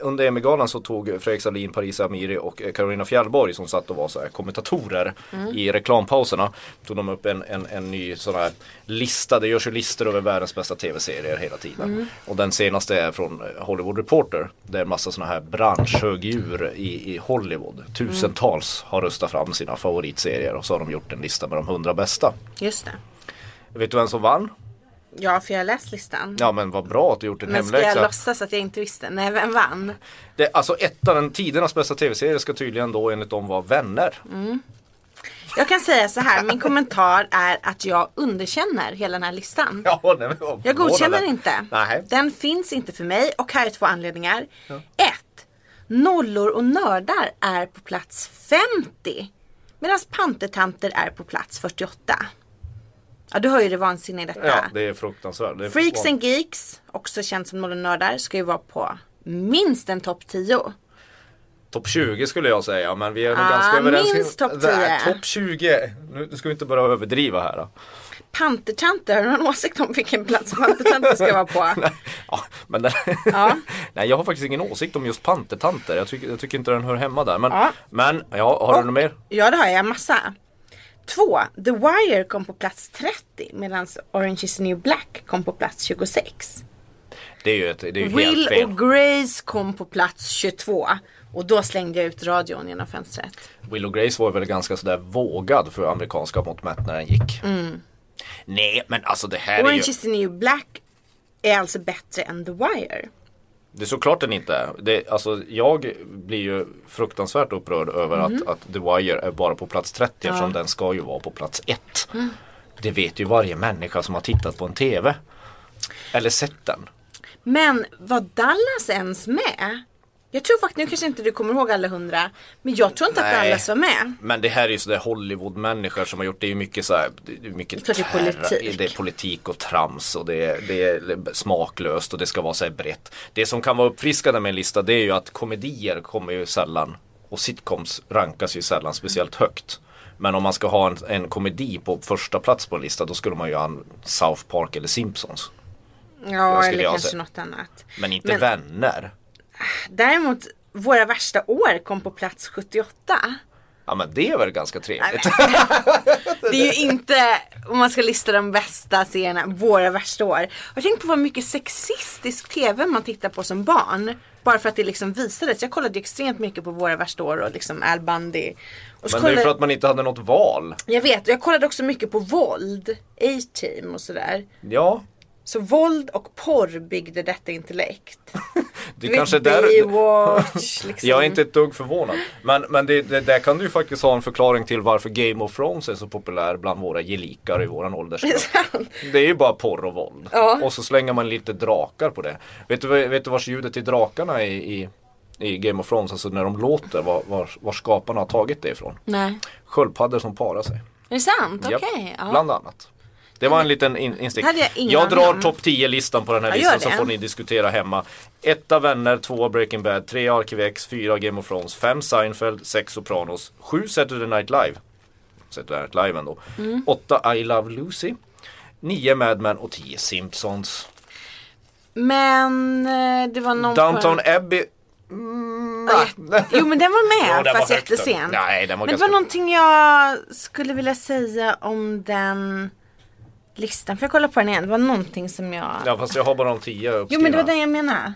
C: under Emmygalan så tog Fredrik Salin, Parisa Amiri och eh, Carolina Fjällborg som satt och var så här kommentatorer i reklampauserna. Tog de upp en, en, en ny sån här lista, det görs ju listor över världens bästa tv-serier hela tiden. Och den senaste är från eh, Hollywood Reporter. Det är en massa såna här branschhögdjur i, i Hollywood. Tusentals har röstat fram sina favoritserier och så har de gjort en lista med de hundra bästa.
B: Just det.
C: Vet du vem som vann?
B: Ja, för jag har läst listan.
C: Ja men vad bra att du gjort din
B: Men ska jag
C: hemläxa.
B: låtsas att jag inte visste? Nej, vem vann?
C: Det, alltså ettan, den tidernas bästa tv-serie ska tydligen då enligt dem vara vänner.
B: Mm. Jag kan säga så här, min kommentar är att jag underkänner hela den här listan.
C: Ja, nej, men vad
B: Jag godkänner
C: förvånande.
B: inte.
C: Nej.
B: Den finns inte för mig och här är två anledningar. Ett, nollor och nördar är på plats 50. Medan pantertanter är på plats 48. Ja, du hör ju det vansinniga i detta.
C: Ja, det är fruktansvärt. Det är
B: Freaks
C: förvånande.
B: and Geeks, också känt som nollor och nördar, ska ju vara på minst en topp 10.
C: Topp 20 skulle jag säga, men vi är nog
B: Ah,
C: ganska överens.
B: minst topp
C: Nej,
B: 10.
C: Topp 20, nu nu ska vi inte börja överdriva här. Då.
B: Pantertanter, har du någon åsikt om vilken plats pantertanter ska vara
C: *laughs*
B: på?
C: Ja, men den,
B: Ja.
C: *laughs* nej, jag har faktiskt ingen åsikt om just pantertanter. Jag tycker, jag tycker inte den hör hemma där. Men,
B: Ja.
C: men ja, har du något mer?
B: Ja det har jag, massa. Två, The Wire kom på plats 30 medan Orange is the new black kom på plats 26.
C: Det är ju, ett, det är ju helt
B: Will
C: fel.
B: och Grace kom på plats 22. Och då slängde jag ut radion genom fönstret.
C: Willow Grace var väl ganska sådär vågad för amerikanska mått mätt när den gick. Nej men alltså det här
B: Orange
C: är ju,
B: is the new black är alltså bättre än The Wire.
C: det är såklart den inte är. Det, alltså jag blir ju fruktansvärt upprörd över att, att The Wire är bara på plats 30 eftersom den ska ju vara på plats 1. Det vet ju varje människa som har tittat på en TV. Eller sett den.
B: Men var Dallas ens med? Jag tror faktiskt, nu kanske inte du kommer ihåg alla hundra. Men jag tror inte att
C: Nej.
B: Dallas var med.
C: Men det här är ju sådär Hollywood-människor som har gjort det är ju mycket så här, det är mycket
B: Det är klart det är
C: terra-
B: politik.
C: det är politik och trams och det är, det är smaklöst och det ska vara så här brett. Det som kan vara uppfriskande med en lista det är ju att komedier kommer ju sällan och sitcoms rankas ju sällan speciellt högt. Men om man ska ha en, en komedi på första plats på en lista då skulle man ju ha en South Park eller Simpsons.
B: Ja,
C: skulle
B: eller
C: jag
B: kanske
C: säga.
B: något annat.
C: Men inte vänner.
B: Däremot, Våra värsta år kom på plats 78.
C: Ja men det är väl ganska trevligt.
B: Det är ju inte, om man ska lista de bästa serierna, våra värsta år. Jag tänkt på vad mycket sexistisk TV man tittar på som barn. Bara för att det liksom visades. Jag kollade ju extremt mycket på våra värsta år och liksom Al Bundy. Och så
C: Men det är ju
B: kollade,
C: för att man inte hade något val.
B: Jag vet, och jag kollade också mycket på våld. A-team och sådär.
C: Ja,
B: Så våld och porr byggde detta intellekt.
C: det
B: Du vet,
C: kanske är där, *laughs*
B: Baywatch, liksom. *laughs*
C: Jag är inte ett dugg förvånad. Men, men det, det, där kan du ju faktiskt ha en förklaring till varför Game of Thrones är så populär bland våra gelikar i
B: *laughs*
C: våran åldersgrupp. Det är ju bara porr och våld.
B: Ja.
C: Och så slänger man lite drakar på det. Vet du, vad- vet du vars ljudet till drakarna i, i, i Game of Thrones, alltså när de låter, var, var, var skaparna har tagit det ifrån?
B: Nej.
C: Sköldpaddor som parar sig.
B: Är det sant? Okej.
C: Japp,
B: ja.
C: Bland annat. Det var en liten in- instick.
B: Hade jag ingen aning
C: drar
B: om.
C: topp 10-listan på den här
B: Ja,
C: listan
B: gör
C: så
B: det.
C: får ni diskutera hemma. Etta Vänner, tvåa Breaking Bad, trea Arkivex, fyra Game of Thrones, fem Seinfeld, sex Sopranos, sju Saturday Night Live. Saturday Night Live ändå.
B: Mm.
C: Åtta I Love Lucy, nio Mad Men och tio Simpsons.
B: Men eh, det var någon på-
C: Downton Abbey Mm,
B: Ja,
C: nej.
B: jätte- Jo men den var med
C: Ja, den
B: fast
C: var högt upp.
B: jättesent.
C: Nej, den
B: men
C: var
B: det
C: ganska
B: var någonting jag skulle vilja säga om den listan. Får jag kolla på den igen? Det var någonting som jag...
C: Ja fast jag har bara de tio
B: jo men det var
C: uppskrivna.
B: den jag menade.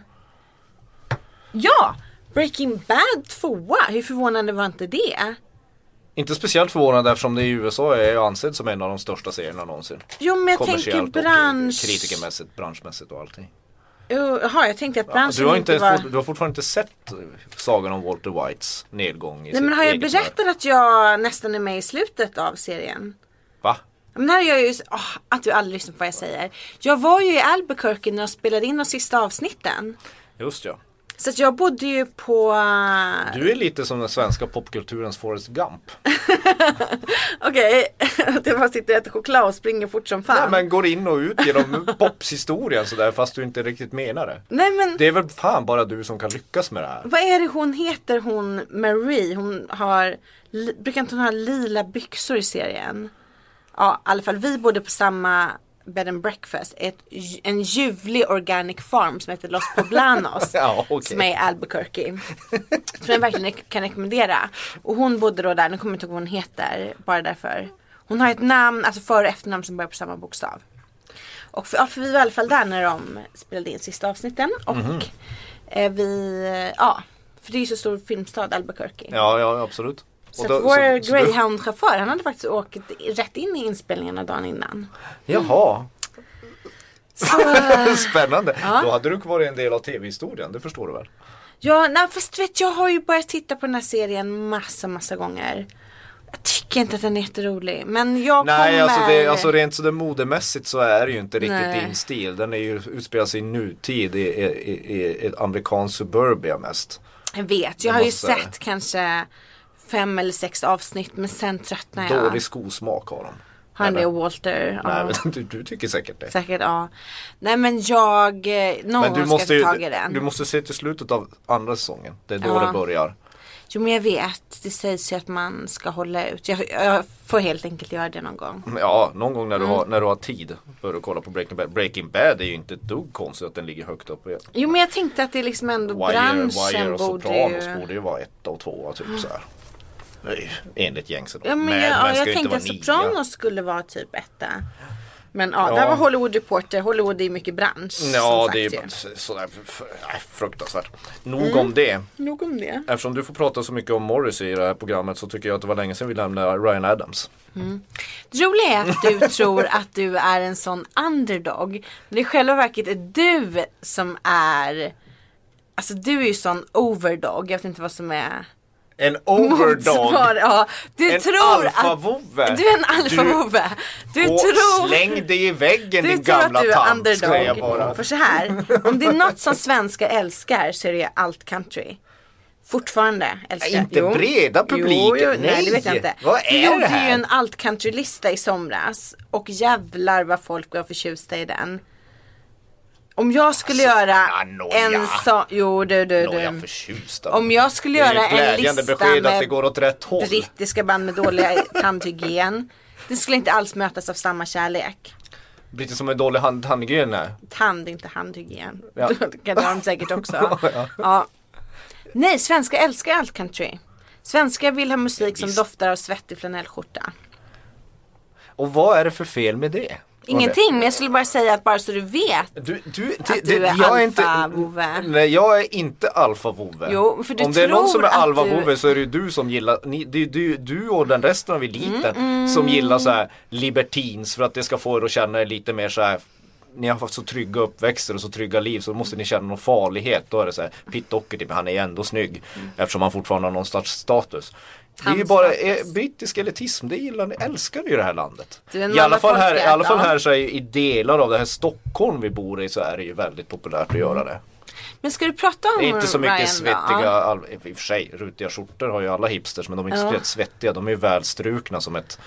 B: Ja! Breaking Bad tvåa. Hur förvånande var inte det?
C: Inte speciellt förvånad eftersom det i USA är jag ansedd som en av de största serierna någonsin.
B: Jo men jag tänker
C: Kommersiellt
B: bransch...
C: och kritikermässigt, branschmässigt och allting. Alltså,
B: Jo, Jaha, jag tänkte att branschen
C: Du har, inte
B: var...
C: ens fått, du har fortfarande inte sett eh, sagan om Walter Whites nedgång i
B: Nej
C: sitt
B: men har jag
C: eget
B: berättat att jag nästan är med i slutet av serien?
C: Va?
B: Men här är jag ju, åh, att du aldrig lyssnar på vad jag säger. Jag var ju i Albuquerque när jag spelade in de sista avsnitten.
C: Just ja.
B: Så att jag bodde ju på... eh,
C: Du är lite som den svenska popkulturens Forrest Gump.
B: Okej, *laughs* att jag bara sitter och äter choklad och springer fort som fan.
C: Nej men går in och ut genom
B: *laughs*
C: popshistorien sådär fast du inte riktigt menar det.
B: Nej, men-
C: Det är väl fan bara du som kan lyckas med det här.
B: Vad är det hon heter hon Marie? Hon har, li, brukar inte hon ha lila byxor i serien? Ja, i alla fall vi bodde på samma bed and breakfast. Ett, ju- en ljuvlig organic farm som heter Los Poblanos.
C: *laughs* Ja, okej.
B: Som är i Albuquerque. Som jag verkligen kan rekommendera. Och hon bodde då där, nu kommer jag inte ihåg vad hon heter. Bara därför. Hon har ett namn, alltså för och efternamn som börjar på samma bokstav. Och för, ja, för vi var i alla fall där när de spelade in sista avsnitten. Och
C: Mhm.
B: eh, vi, ja. För det är ju så stor filmstad Albuquerque.
C: Ja, ja absolut.
B: Så
C: Och
B: att
C: då-
B: vår
C: så- så du-
B: greyhound-chaufför han hade faktiskt åkt i- rätt in i inspelningarna dagen
C: *laughs*
B: innan.
C: Jaha, *laughs*
B: Så,
C: spännande. Då hade du varit en del av tv-historien, det förstår du väl?
B: Ja, nej, fast vet jag har ju börjat titta på den här serien massa, massa gånger. Jag tycker inte att den är jätterolig, men jag
C: Nej,
B: kommer...
C: alltså, det, alltså rent sådär modemässigt så är det ju inte riktigt
B: Nej.
C: din stil. Den är ju, utspelar sig i nutid i, i, i, i ett amerikanskt suburbia mest.
B: Jag vet, jag
C: Jag
B: har ju
C: måste-
B: sett kanske fem eller sex avsnitt, men sen tröttnar jag.
C: Dålig skosmak har de.
B: har han det
C: Eller?
B: och Walter?
C: Nej,
B: ja,
C: men *laughs* du, du tycker säkert det.
B: säkert, ja. Nej, men jag... eh, Någon
C: Men
B: gång
C: du
B: ska
C: måste,
B: jag ta tag i
C: ju,
B: den.
C: du måste se till slutet av andra säsongen. Det är då
B: Ja.
C: det börjar.
B: Jo, men jag vet. Det sägs ju att man ska hålla ut. Jag, jag får helt enkelt göra det någon gång.
C: Ja, någon gång när
B: Mm.
C: du, har, när du har tid bör du kolla på Breaking Bad. Breaking Bad är ju inte ett dugg konstigt att den ligger högt upp.
B: Jo, men jag tänkte att det är liksom ändå
C: Wire,
B: branschen
C: Wire och
B: borde
C: Sopranos
B: ju...
C: borde ju vara ett och tvåa typ så här. Nej, Enligt gängse då.
B: Ja, men
C: Mad
B: jag,
C: Men
B: ja,
C: ska
B: jag
C: ju inte
B: tänkte att
C: vara nia.
B: Sopranos skulle vara typ etta. Men ja,
C: Ja.
B: där var Hollywood Reporter. Hollywood är ju mycket bransch.
C: Ja,
B: som
C: det är
B: sagt
C: ju
B: ju.
C: så- sådär f- nej, fruktansvärt. Nog
B: Mm.
C: om det.
B: Nog om det.
C: Eftersom du får prata så mycket om Morris i det här programmet så tycker jag att det var länge sedan vi lämnade Ryan Adams.
B: Det roliga är att du tror att du är en sån underdog. Men i själva verket är du som är... Alltså du är ju sån overdog. Jag vet inte vad som är...
C: En overdog.
B: motsvar- Ja, du
C: En
B: tror
C: alfavovve.
B: att... Du är en alfavovve. Du,
C: Och
B: tror...
C: släng dig i väggen
B: Du
C: din
B: tror att
C: gamla
B: du är
C: tant. säger jag
B: underdog.
C: bara.
B: För så här, om det är något
C: *laughs*
B: som svenskar älskar så är det ju allt country. Fortfarande älskar
C: Inte breda publiken,
B: Jo, jo, nej, det
C: nej.
B: vet jag inte.
C: Vad är
B: Vi gjorde
C: det här?
B: ju en allt countrylista i somras och jävlar vad folk var förtjusta i den. Om jag skulle göra
C: Alltså, ah, nåja.
B: en sån, jo du du
C: Nå, jag är
B: du.
C: förtjust av
B: Om jag skulle göra
C: Det är ju
B: en
C: ett glädjande
B: lista
C: besked att
B: med
C: det går åt rätt håll.
B: brittiska band med dålig tandhygien. Det skulle inte alls mötas av samma kärlek.
C: Lite som en dålig hand, handgryn här.
B: tand, inte handhygien.
C: Ja.
B: Då kan *laughs* det ha dem säkert
C: *laughs*
B: också. ja. Nej, svenskar älskar allt country. Svenskar vill ha musik som
C: Visst.
B: doftar av svettig flanellskjorta.
C: Och vad är det för fel med det?
B: Ingenting, men jag skulle bara säga att bara så du vet.
C: Du, du,
B: Att du är alfavove.
C: Nej jag är inte alfavove.
B: Jo, för du
C: Om det är någon som är
B: tror att
C: alfavove
B: du-
C: så är det ju du som gillar, ni, det är ju du, du och den resten av eliten
B: Mm,
C: som gillar så här libertins för att det ska få er att känna er lite mer så här ni har haft så trygga uppväxter och så trygga liv så måste ni känna någon farlighet. Då är det så här, Pitt Doherty, men han är ju ändå snygg. Eftersom han fortfarande har någon slags status. Det är ju bara eh, brittisk elitism, det gillar ni, älskar ni ju det här landet.
B: Du är en
C: I alla fall här, i
B: mallafolket,
C: alla fall
B: ja.
C: här så är ju i delar av det här Stockholm vi bor i så är det ju väldigt populärt att göra det.
B: Men ska du prata om
C: Det är inte så mycket
B: Ryan då?
C: svettiga,
B: Mm, Ja.
C: all, i och för sig rutiga skjortor har ju alla hipsters men de är inte
B: Ja.
C: speciellt svettiga, de är ju välstrukna som ett,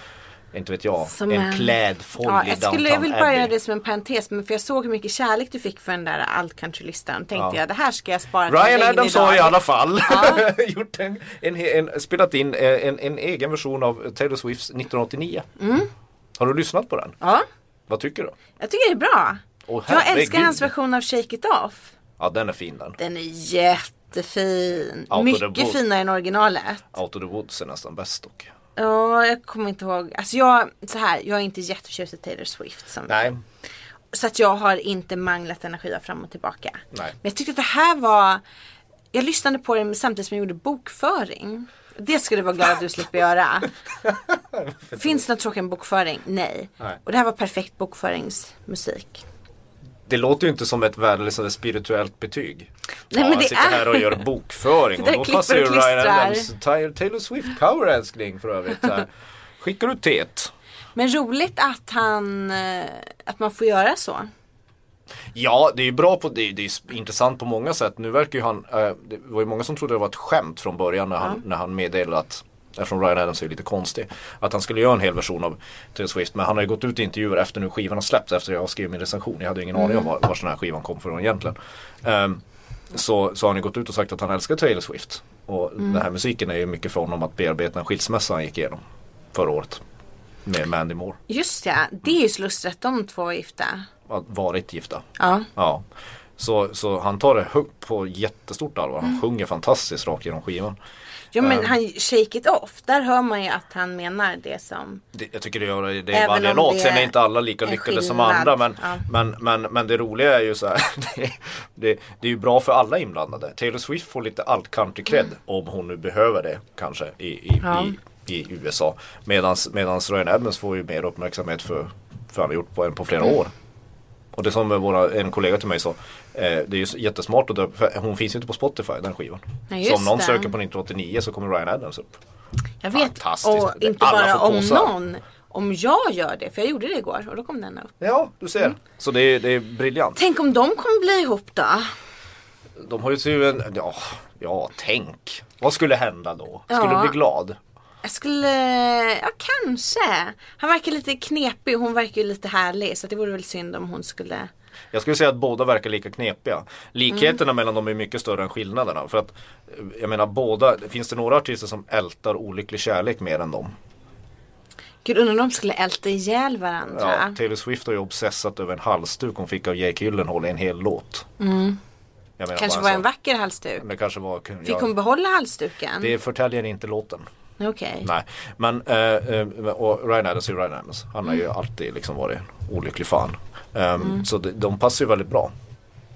C: inte vet jag,
B: Som
C: en
B: en-
C: klädfoll
B: Ja,
C: i
B: jag,
C: downtown
B: skulle, jag vill bara
C: Abbey.
B: göra det som en parentes, men för jag såg hur mycket kärlek du fick för den där allt country-listan. Tänkte jag, det här ska jag spara till
C: Ryan
B: en
C: Adams
B: regnig
C: har i
B: dag.
C: alla fall *laughs* gjort en, en, en, spelat in eh, en, en egen version av Taylor Swifts 1989.
B: Mm.
C: Har du lyssnat på den?
B: Ja,
C: Vad tycker du?
B: jag tycker det är bra.
C: Åh,
B: jag
C: herregud.
B: älskar hans version av Shake It Off.
C: Ja den är fin den.
B: Den är jättefin.
C: Out of the
B: Mycket
C: box.
B: finare än originalet.
C: Out of the Woods är nästan bäst dock.
B: Ja, jag kommer inte ihåg. Alltså jag, så här, jag är inte jätteförtjust i Taylor Swift. Som,
C: Nej,
B: Så att jag har inte manglat energi av fram och tillbaka.
C: Nej.
B: Men jag tyckte att det här var, jag lyssnade på det samtidigt som jag gjorde bokföring. Det ska du vara glad att du slipper
C: *laughs*
B: göra. Finns det något tråkigare än bokföring? Nej.
C: Nej.
B: Och det här var perfekt bokföringsmusik.
C: Det låter ju inte som ett värdelöst eller spirituellt betyg.
B: Nej, men
C: ja,
B: det
C: jag sitter
B: är-
C: här och gör
B: *laughs*
C: bokföring och
B: Sitter
C: då
B: och klipper
C: passar ju
B: och
C: Ryan
B: klistrar.
C: Adams Taylor Taylor Swift-cover älskling för övrigt.
B: *laughs*
C: så här. Skickar du E teet?
B: Men roligt att han, eh, att man får göra så.
C: Ja, det är ju bra på, det är, det är s- intressant på många sätt. Nu verkar ju han, eh, det var ju många som trodde det var ett skämt från början när han, när han meddelade att Eftersom Ryan Adams är ju lite konstig. Att han skulle göra en hel version av Taylor Swift. Men han har ju gått ut i intervjuer efter nu skivan har släppts. Efter jag skrev min recension. Jag hade ju ingen aning om var, var den här skivan kom från egentligen. Ehm, så, så har han ju gått ut och sagt att han älskar Taylor Swift. Och den här musiken är ju mycket för honom att bearbeta en skilsmässa han gick igenom. Förra året. Med Mandy Moore.
B: Just ja, det är ju så lustigt att de två är gifta.
C: Att Varit gifta.
B: Ja.
C: Ja. Så, så han tar det högt på jättestort allvar. Han sjunger fantastiskt rakt genom skivan.
B: Jo
C: Ehm.
B: men han, shake it off, där hör man ju att han menar det som
C: Det, jag tycker det gör det i
B: Även
C: varje
B: om
C: låt.
B: det
C: Sen är inte alla lika
B: är
C: lyckade som
B: skillnad.
C: andra. Men,
B: Ja.
C: men, men, men det roliga är ju så här. *laughs* Det, det, det är ju bra för alla inblandade. Taylor Swift får lite alt country cred om hon nu behöver det kanske i, i,
B: Mm. Ja.
C: i, i USA. Medans, medans Ryan Adams får ju mer uppmärksamhet för, för han har gjort på, än på
B: Mm.
C: flera år. Och det som våra, en kollega till mig sa, eh, det är ju jättesmart att döpa, för hon finns ju inte på Spotify den skivan.
B: Ja,
C: så
B: just
C: om någon
B: det.
C: söker på 1989 så kommer Ryan Adams upp.
B: Jag vet,
C: Fantastiskt.
B: och
C: Det-
B: inte
C: alla
B: bara
C: får
B: om
C: påsar.
B: någon. Om jag gör det, för jag gjorde det igår och då kom den upp.
C: Ja, du ser.
B: Mm.
C: Så det är, det är briljant.
B: Tänk om de kommer bli ihop då?
C: De har ju tur en, ja, ja tänk. Vad skulle hända då? Skulle
B: Ja.
C: du bli glad?
B: Jag skulle, ja kanske. Han verkar lite knepig, hon verkar ju lite härlig så det vore väl synd om hon skulle
C: Jag skulle säga att båda verkar lika knepiga. Likheterna
B: Mm.
C: mellan dem är mycket större än skillnaderna. För att, eh, jag menar båda, finns det några artister som ältar olycklig kärlek mer än dem?
B: Gud undrar om de skulle älta ihjäl
C: Ja,
B: varandra.
C: Taylor Swift har ju obsessat över en halsduk hon fick av Jake Gyllenhaal i en hel låt. Jag menar,
B: Mm. kanske
C: bara
B: var
C: så-
B: en vacker halsduk.
C: Det kanske var,
B: Fick
C: ja,
B: hon behålla halsduken?
C: det förtäljer inte låten.
B: Okej.
C: Nej, men eh, eh, och Ryan Adams är ju Ryan Adams. Han har ju
B: Mm.
C: alltid liksom varit en olycklig fan. Ehm, Så de, de passar ju väldigt bra.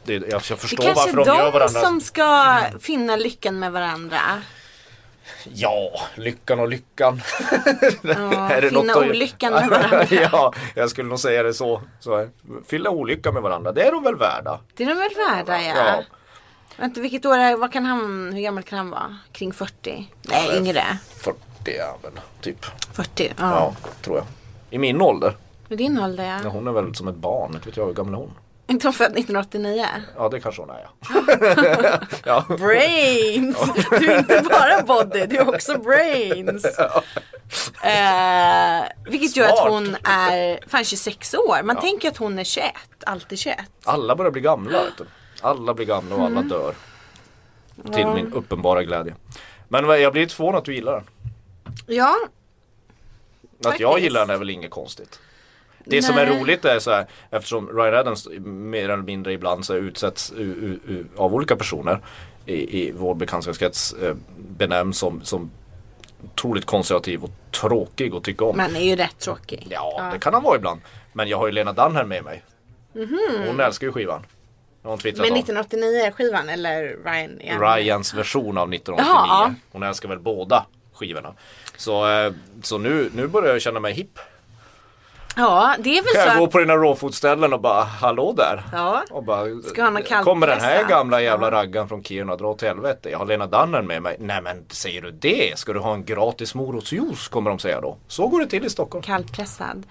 C: Det, jag, jag
B: Det
C: förstår
B: kanske
C: varför
B: är
C: de gör
B: de
C: varandra.
B: som ska finna lyckan med varandra.
C: Ja, lyckan och lyckan.
B: *laughs* Ja, finna
C: att-
B: olyckan med varandra.
C: *laughs* ja, jag skulle nog säga det så. så här. Fylla olycka med varandra, det är de väl värda.
B: Det är de väl värda ja.
C: Ja.
B: Vänta, vilket år är, vad kan han, hur gammal kan han vara? Kring 40? Nej, yngre.
C: 40 är väl, typ.
B: 40, ja.
C: Ja, tror jag. I min ålder.
B: Med din ålder ja.
C: Ja, Hon är väl som ett barn, inte vet jag hur gammal är hon?
B: Inte hon född
C: *laughs*
B: 1989?
C: Ja, det kanske hon är ja. ja.
B: Brains! Du är inte bara body, du är också
C: *laughs*
B: brains. Eh, vilket gör att
C: Smart.
B: hon är fan 26 år. Man tänker att hon är 21, alltid 21.
C: Alla börjar bli gamla. Vet du. Alla blir gamla och
B: Mm.
C: alla dör. Till min uppenbara glädje. Men vad- jag blir lite förvånad att du gillar den.
B: Ja,
C: Att jag
B: Faktiskt.
C: gillar den är väl inget konstigt. Det som är
B: Nej.
C: roligt är så här, eftersom Ryan Adams mer eller mindre ibland så här utsätts u, u, u, av olika personer i, i vår bekantskapskrets eh, benämns som, som otroligt konservativ och tråkig att tycka om.
B: man är ju rätt tråkig.
C: Ja, det kan han vara ibland. Men jag har ju Lena Dunn här med mig. Hon älskar ju skivan. Har Hon twittrat
B: Mhm. Men
C: om.
B: 1989-skivan eller Ryan? igen?
C: Ryans version av 1989.
B: Jaha, ja.
C: Hon älskar väl båda skivorna. Så, eh, så nu, nu börjar jag känna mig hipp.
B: Ja, det är väl
C: Kan jag
B: så
C: gå
B: att...
C: på dina rawfood-ställen och bara hallå där.
B: Ja.
C: Och bara,
B: Ska ha någon
C: kommer den här
B: kallpressat?
C: gamla jävla raggaren från Kiruna dra åt helvete. Jag har Lena Dannen med mig. Nej men säger du det? Ska du ha en gratis morotsjuice kommer de säga då. Så går det till i Stockholm.
B: Kallpressad.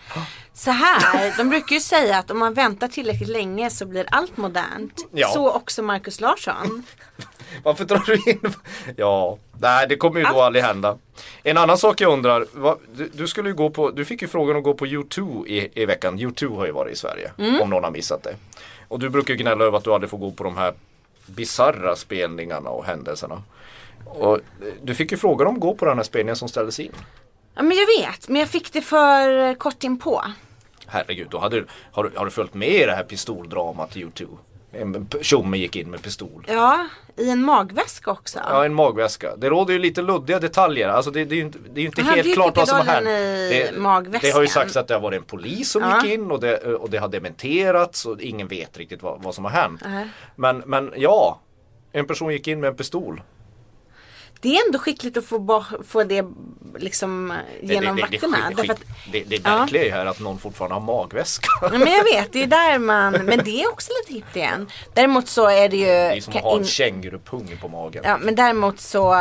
B: Så här, de brukar ju säga att om man väntar tillräckligt länge så blir allt modernt.
C: Ja.
B: Så också Markus Larsson.
C: Varför drar du in? Ja, nej det kommer ju då aldrig hända. En annan sak jag undrar, vad, du, du skulle ju gå på, du fick ju frågan att gå på U2 i, i veckan. U2 har ju varit i Sverige, om någon har missat det. Och du brukar ju gnälla över att du aldrig får gå på de här bizarra spelningarna och händelserna. Och eh, du fick ju frågan om att gå på den här spelningen som ställdes in.
B: Ja men jag vet, men jag fick det för kort inpå.
C: Herregud, då hade, du- har, du- har du följt med i det här pistoldramat i U2? En p- tjomme gick in med pistol.
B: Ja, i en magväska också.
C: Ja, en magväska. Det råder ju lite luddiga detaljer. Alltså det, det är ju inte, det är ju inte
B: Han hade
C: helt
B: ju
C: klart vad som har hänt.
B: pickadollen i
C: Det, det
B: magväskan.
C: har ju sagts att det har varit en polis som
B: Ja.
C: gick in och det, och det har dementerats och ingen vet riktigt vad, vad som har hänt. Men, men ja, en person gick in med en pistol.
B: Det är ändå skickligt att få, bo- få det liksom genom
C: det, det, det,
B: vakterna.
C: det,
B: därför
C: det,
B: att-
C: det, det
B: Ja. Mm.
C: märkliga är ju här att någon fortfarande har magväska.
B: Ja, men jag vet, det är där man, men det är också lite hippt igen. Däremot så är det ju...
C: *laughs* Det är som att ha en kängurupung på magen.
B: Ja, men däremot så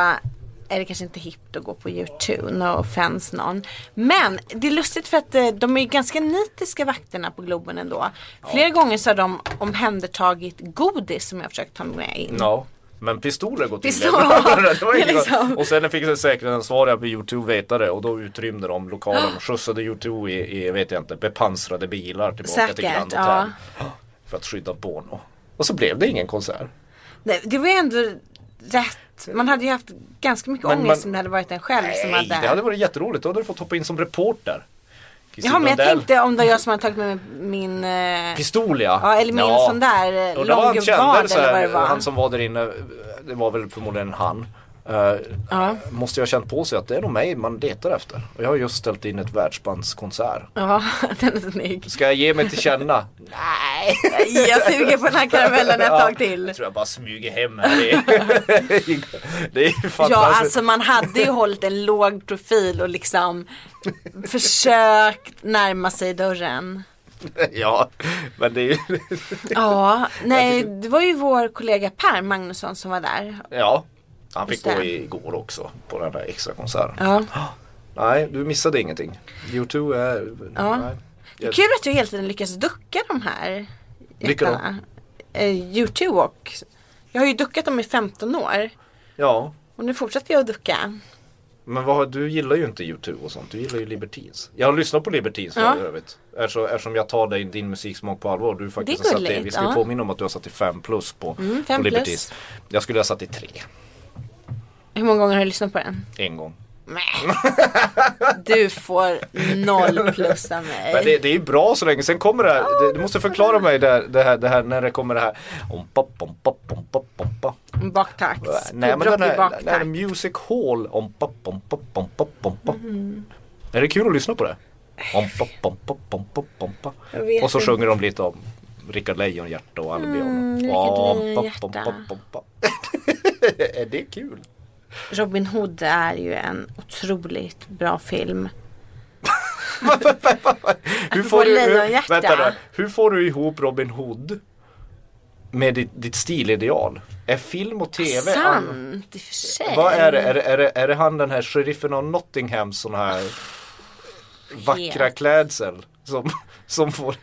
B: är det kanske inte hippt att gå på YouTube, no offense någon. Men det är lustigt för att eh, de är ju ganska nitiska vakterna på Globen ändå. Flera gånger så har de omhändertagit godis som jag har försökt ta med in.
C: Ja, men pistoler går till
B: Mm. Pistol-
C: *laughs*
B: *laughs*
C: det var inget
B: liksom.
C: bra. Och sen fick den säkerhetsansvariga på YouTube veta det och då utrymde de
B: Ah.
C: lokalen och skjutsade YouTube i, i vet jag inte, bepansrade bilar tillbaka till
B: Säkert,
C: Grand Hotel. *gasps* För att skydda Bono. Och så blev det ingen konsert.
B: Nej, Det var ju ändå rätt. Man hade ju haft ganska mycket
C: Men
B: ångest
C: man-
B: om det hade varit en själv som
C: Nej,
B: hade.
C: det hade varit jätteroligt. Då hade du fått hoppa in som reporter. Kristin
B: Jaha, men jag
C: Lundell.
B: tänkte om det var jag som hade tagit med min... eh,
C: Pistol ja.
B: Ja, eller min sån där, eh,
C: Undrar vad han
B: långbad,
C: kände så
B: eller vad
C: här,
B: det var.
C: Han som var där inne, det var väl förmodligen han. Eh, Måste jag ha känt på sig att det är nog mig man letar efter. Och jag har just ställt in ett världsbandskonsert.
B: Ja, *laughs* den är snygg.
C: Ska jag ge mig till känna?
B: Nej, jag suger på den här karamellen ett tag *laughs* till.
C: Jag tror jag bara smyger hem här. Det är, *laughs* det är ju fantastiskt.
B: Ja, alltså man hade ju hållit en låg profil och liksom försökt närma sig dörren.
C: *laughs* ja, men det är ju... *laughs*
B: Ja, nej, det var ju vår kollega Per Magnusson som var där.
C: Ja, han fick
B: Just
C: gå
B: det.
C: igår också på den där extra konserten.
B: Ja.
C: *gasps* Nej, du missade ingenting. YouTube är...
B: Ja.
C: Nej.
B: Det är kul att du hela tiden lyckas ducka de här
C: Vilka då?
B: jättarna. Eh, YouTube och jag har ju duckat dem i 15 år
C: Ja,
B: och nu fortsätter jag att ducka.
C: men vad, har- du gillar ju inte YouTube och sånt. Du gillar ju Libertines. Jag har lyssnat på Libertines för
B: Ja.
C: övrigt. Eftersom, eftersom jag tar dig, din musiksmak på allvar. Du faktiskt
B: Det är
C: har satt dig, vi
B: gulligt,
C: ska ju
B: ja. Mm,
C: påminna om att du har satt i 5 plus på,
B: fem
C: på
B: plus.
C: Libertines. Jag skulle ha satt i 3,
B: Hur många gånger har du lyssnat på den? *laughs*
C: en gång.
B: Nej. Du får noll plus av mig.
C: Men det, det är ju bra så länge, sen kommer det här, det, du måste förklara mig det, här- det, här, det här när det kommer det här ompa, ompa, ompa, ompa.
B: Baktakt.
C: Nej men den
B: Pubrock i
C: här, den här
B: baktakt.
C: Music Hall, ompa, ompa, ompa, ompa. Är det kul att lyssna på det? Ompa, ompa, ompa, ompa.
B: Jag vet
C: Och så
B: inte.
C: sjunger de lite om Rickard Lejonhjärta och Albion.
B: Mm, Rickard Lejonhjärta.
C: ompa. *laughs* Är det kul?
B: Robin Hood är ju en otroligt bra film.
C: Hur
B: Apropå
C: får, du, hur,
B: Lejonhjärta.
C: vänta nu, hur får du ihop Robin Hood med ditt, ditt stilideal? Är film och tv an-
B: Sant i och för sig.
C: Vad är det? Är det, är det? är det han den här sheriffen av Nottingham sån här vackra klädsel som, som får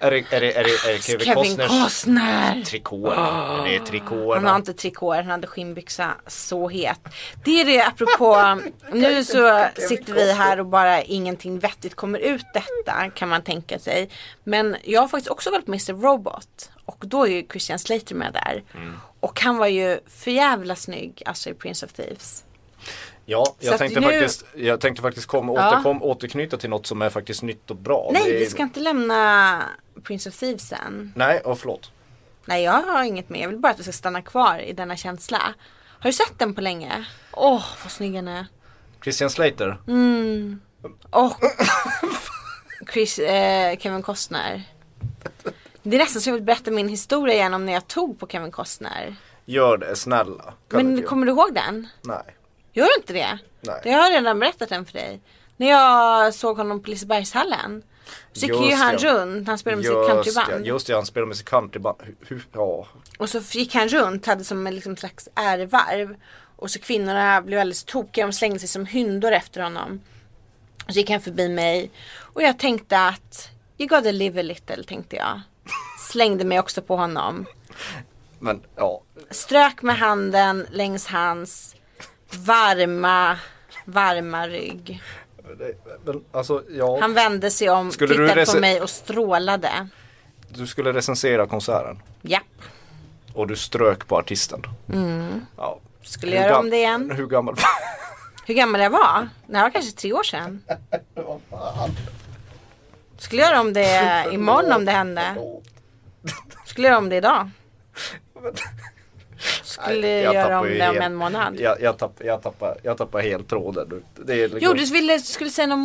C: är det, är det, är det, är det Kevin,
B: Kevin
C: Costners
B: Costner. Ah.
C: trikåer? Är det
B: Han har
C: trikåerna?
B: inte trikåer, han hade skinnbyxa så het. Det är det
C: *laughs*
B: apropå, nu så sitter vi här och bara ingenting vettigt kommer ut detta kan man tänka sig. Men jag har faktiskt också kollat på Mr Robot och då är ju Christian Slater med där.
C: Mm.
B: Och han var ju för jävla snygg, alltså i Prince of Thieves.
C: Ja,
B: Så
C: jag
B: att
C: tänkte,
B: nu-
C: faktiskt, jag tänkte faktiskt kom, återkom, återknyta till något som är faktiskt nytt och bra.
B: Nej,
C: Det-
B: vi ska inte lämna Prince of Thieves än.
C: Nej, och förlåt.
B: Nej, jag har inget mer. Jag vill bara att vi ska stanna kvar i denna känsla. Har du sett den på länge? Åh, vad snygg han är.
C: Christian Slater.
B: Mm.
C: *laughs*
B: Och Chris, eh, Kevin Costner. Det är nästan så jag vill berätta min historia igen om när jag tog på Kevin Costner.
C: Gör det, snälla. Kan du
B: Men
C: inte
B: kommer du ihåg den?
C: göra? Nej.
B: Gör du inte det?
C: Nej.
B: Jag har redan berättat den för dig. När jag såg honom på Lisebergshallen. Så gick ju
C: Just
B: han
C: det.
B: runt, han spelade med sitt
C: Just det,
B: countryband.
C: just det, han spelar med sitt countryband. Hur, hur, ja.
B: Och så gick han runt, hade som en liksom slags ärevarv. Och så kvinnorna blev alldeles tokiga, de slängde sig som hyndor efter honom. Och så gick han förbi mig. Och jag tänkte att, you gotta live a little tänkte jag. Slängde mig också på honom.
C: Men ja,
B: Strök med handen längs hans varma, varma rygg.
C: det, men, alltså ja.
B: Han vände sig om,
C: Skulle du
B: tittade på
C: rese-
B: mig och strålade.
C: Du skulle recensera konserten
B: Japp,
C: och du strök på artisten. Ja.
B: Mm. skulle
C: Hur
B: jag göra om
C: gam-
B: det igen.
C: Hur gammal?
B: Hur gammal jag var? Det här var kanske tre år sedan. Skulle göra om
C: *laughs*
B: det imorgon om det hände. Skulle göra om det
C: *laughs*
B: idag. Skulle
C: *laughs* Nej, jag
B: göra
C: tappar
B: om
C: ju
B: det om
C: helt-
B: en månad.
C: jag, jag, tapp, jag, tappar, jag tappar helt tråden. nu. Det är
B: Jo
C: liksom,
B: du ville, skulle säga något
C: Mm.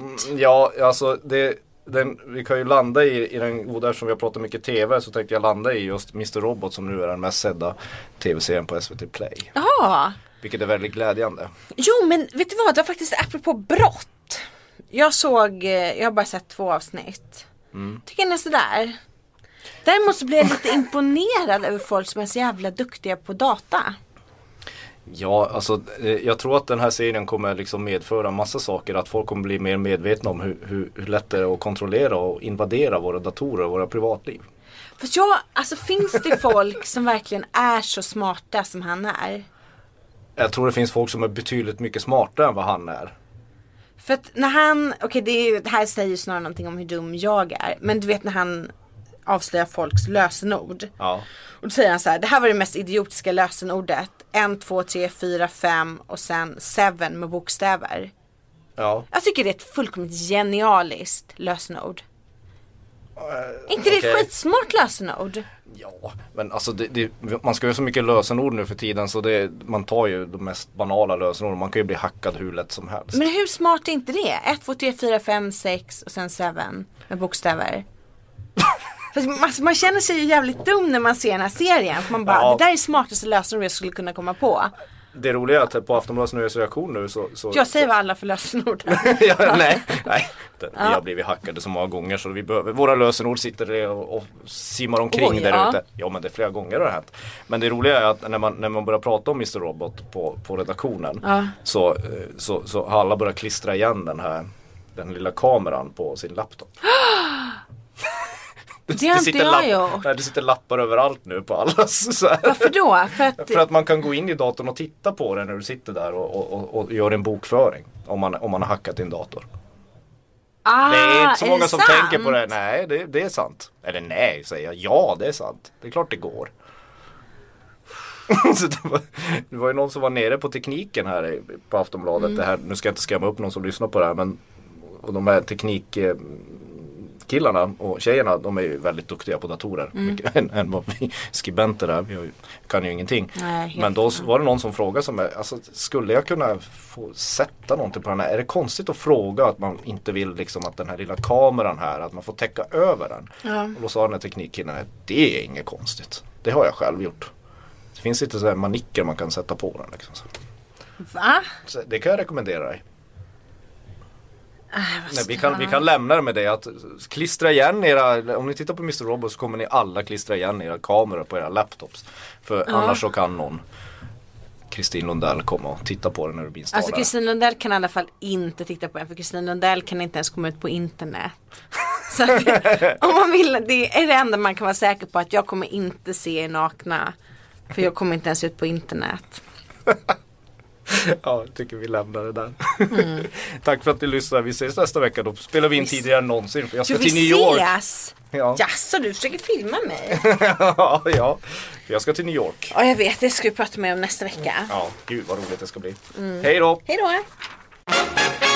B: modernt.
C: Ja, alltså det, den, vi kan ju landa i, i den goda, eftersom vi har pratat mycket tv så tänkte jag landa i just Mr Robot som nu är den mest sedda tv-serien på SVT Play.
B: Jaha.
C: Vilket är väldigt glädjande.
B: Jo men vet du vad, det var faktiskt apropå brott. Jag såg, eh, jag har bara sett två avsnitt.
C: Mm.
B: Tycker den är sådär. Däremot så blir jag
C: *laughs*
B: lite imponerad över folk som är så jävla duktiga på data.
C: Ja, alltså eh, jag tror att den här serien kommer liksom medföra massa saker. Att folk kommer bli mer medvetna om hur, hur, hur lätt det är att kontrollera och invadera våra datorer och våra privatliv.
B: Fast jag, alltså finns det folk som verkligen är så smarta som han är?
C: Jag tror det finns folk som är betydligt mycket smartare än vad han är.
B: För att när han, okej det, är ju- det här säger ju snarare någonting om hur dum jag är. Men du vet när han avslöjar folks lösenord.
C: Ja.
B: Och då säger han så här, det här var det mest idiotiska lösenordet. 1, 2, 3, 4, 5 och sen 7 med bokstäver.
C: Ja.
B: Jag tycker det är ett fullkomligt genialiskt lösenord. inte det
C: okej.
B: ett skitsmart lösenord?
C: eh, Ja, men alltså det, det, man ska ju ha så mycket lösenord nu för tiden så det, man tar ju de mest banala lösenorden. Man kan ju bli hackad hur lätt som helst.
B: Men hur smart är inte det? 1, 2, 3, 4, 5, 6 och sen 7 med
C: *laughs*
B: bokstäver. Fast man, alltså, man känner sig ju jävligt dum när man ser den här serien. För man bara,
C: Ja.
B: det där är smartaste lösenord jag skulle kunna komma på.
C: Det roliga är att på Aftonbladets nyhetsreaktion nu så... så
B: Jag säger vad alla för lösenord
C: *laughs*
B: är.
C: ja, nej, nej. Det, Vi har blivit hackade så många gånger så vi behöver, våra lösenord sitter där och, och simmar omkring
B: Oj,
C: där
B: ja.
C: ute. Ja men det är flera gånger det har hänt. Men det roliga är att när man, när man börjar prata om Mr Robot på, på redaktionen
B: Ja.
C: så, eh, så, så har alla börjat klistra igen den här den lilla kameran på
B: *gasps*
C: sin laptop.
B: Det har inte
C: sitter
B: jag
C: lapp-
B: gjort.
C: Nej, det sitter lappar överallt nu på allas. *laughs* Så här.
B: Varför då? För att,
C: För att man kan gå in i datorn och titta på den när du sitter där och, och, och, och gör en bokföring. Om man, om man har hackat din dator.
B: ah,
C: det är inte så många
B: det
C: som
B: sant?
C: tänker på det. Nej, det, det är sant. Eller nej, säger jag. Ja, det är sant. Det är klart det går. *laughs* så det, var, det var ju någon som var nere på tekniken här i- på Aftonbladet.
B: Mm.
C: Det här, nu ska jag inte skrämma upp någon som lyssnar på det här. Men, och de här teknikkillarna och tjejerna de är ju väldigt duktiga på datorer.
B: Mm.
C: Mycket, *laughs* än, än vad vi skribenter är. Vi har ju- kan ju ingenting.
B: Nej, helt
C: men då s- var det någon som frågade som är, alltså, skulle jag kunna få sätta någonting på den här? Är det konstigt att fråga att man inte vill liksom att den här lilla kameran här, att man får täcka över den? Och då sa den här teknikkillen att det är inget konstigt. Det har jag själv gjort. Det finns inte så här manicker man kan sätta på den. Liksom. Så-
B: Va?
C: Så det kan jag rekommendera dig.
B: Äh,
C: Nej, vi, kan, vi kan lämna det med det att klistra igen era, om ni tittar på Mr. Robot så kommer ni alla klistra igen era kameror på era laptops. För annars så kan någon Kristin Lundell komma och titta på den när du blir installad.
B: Alltså Kristin Lundell kan i alla fall inte titta på den för Kristin Lundell kan inte ens komma ut på internet. *laughs* Så att, det- om man vill, det är det enda man kan vara säker på att jag kommer inte se er nakna. För jag kommer inte ens ut på internet.
C: Ja, jag tycker vi lämnar det där. *laughs* Tack för att ni lyssnade. Vi ses nästa vecka. Då spelar vi in
B: Mm. Vi-
C: tidigare än någonsin. För jag
B: Du
C: ska
B: vi
C: till New York.
B: ses!
C: Ja.
B: Jaså du försöker filma mig?
C: *laughs* ja, ja. För Jag ska till New York.
B: Ja jag vet, det ska vi prata mer om nästa vecka. Mm.
C: Ja, gud vad roligt det ska bli. Hej då!
B: Hej då!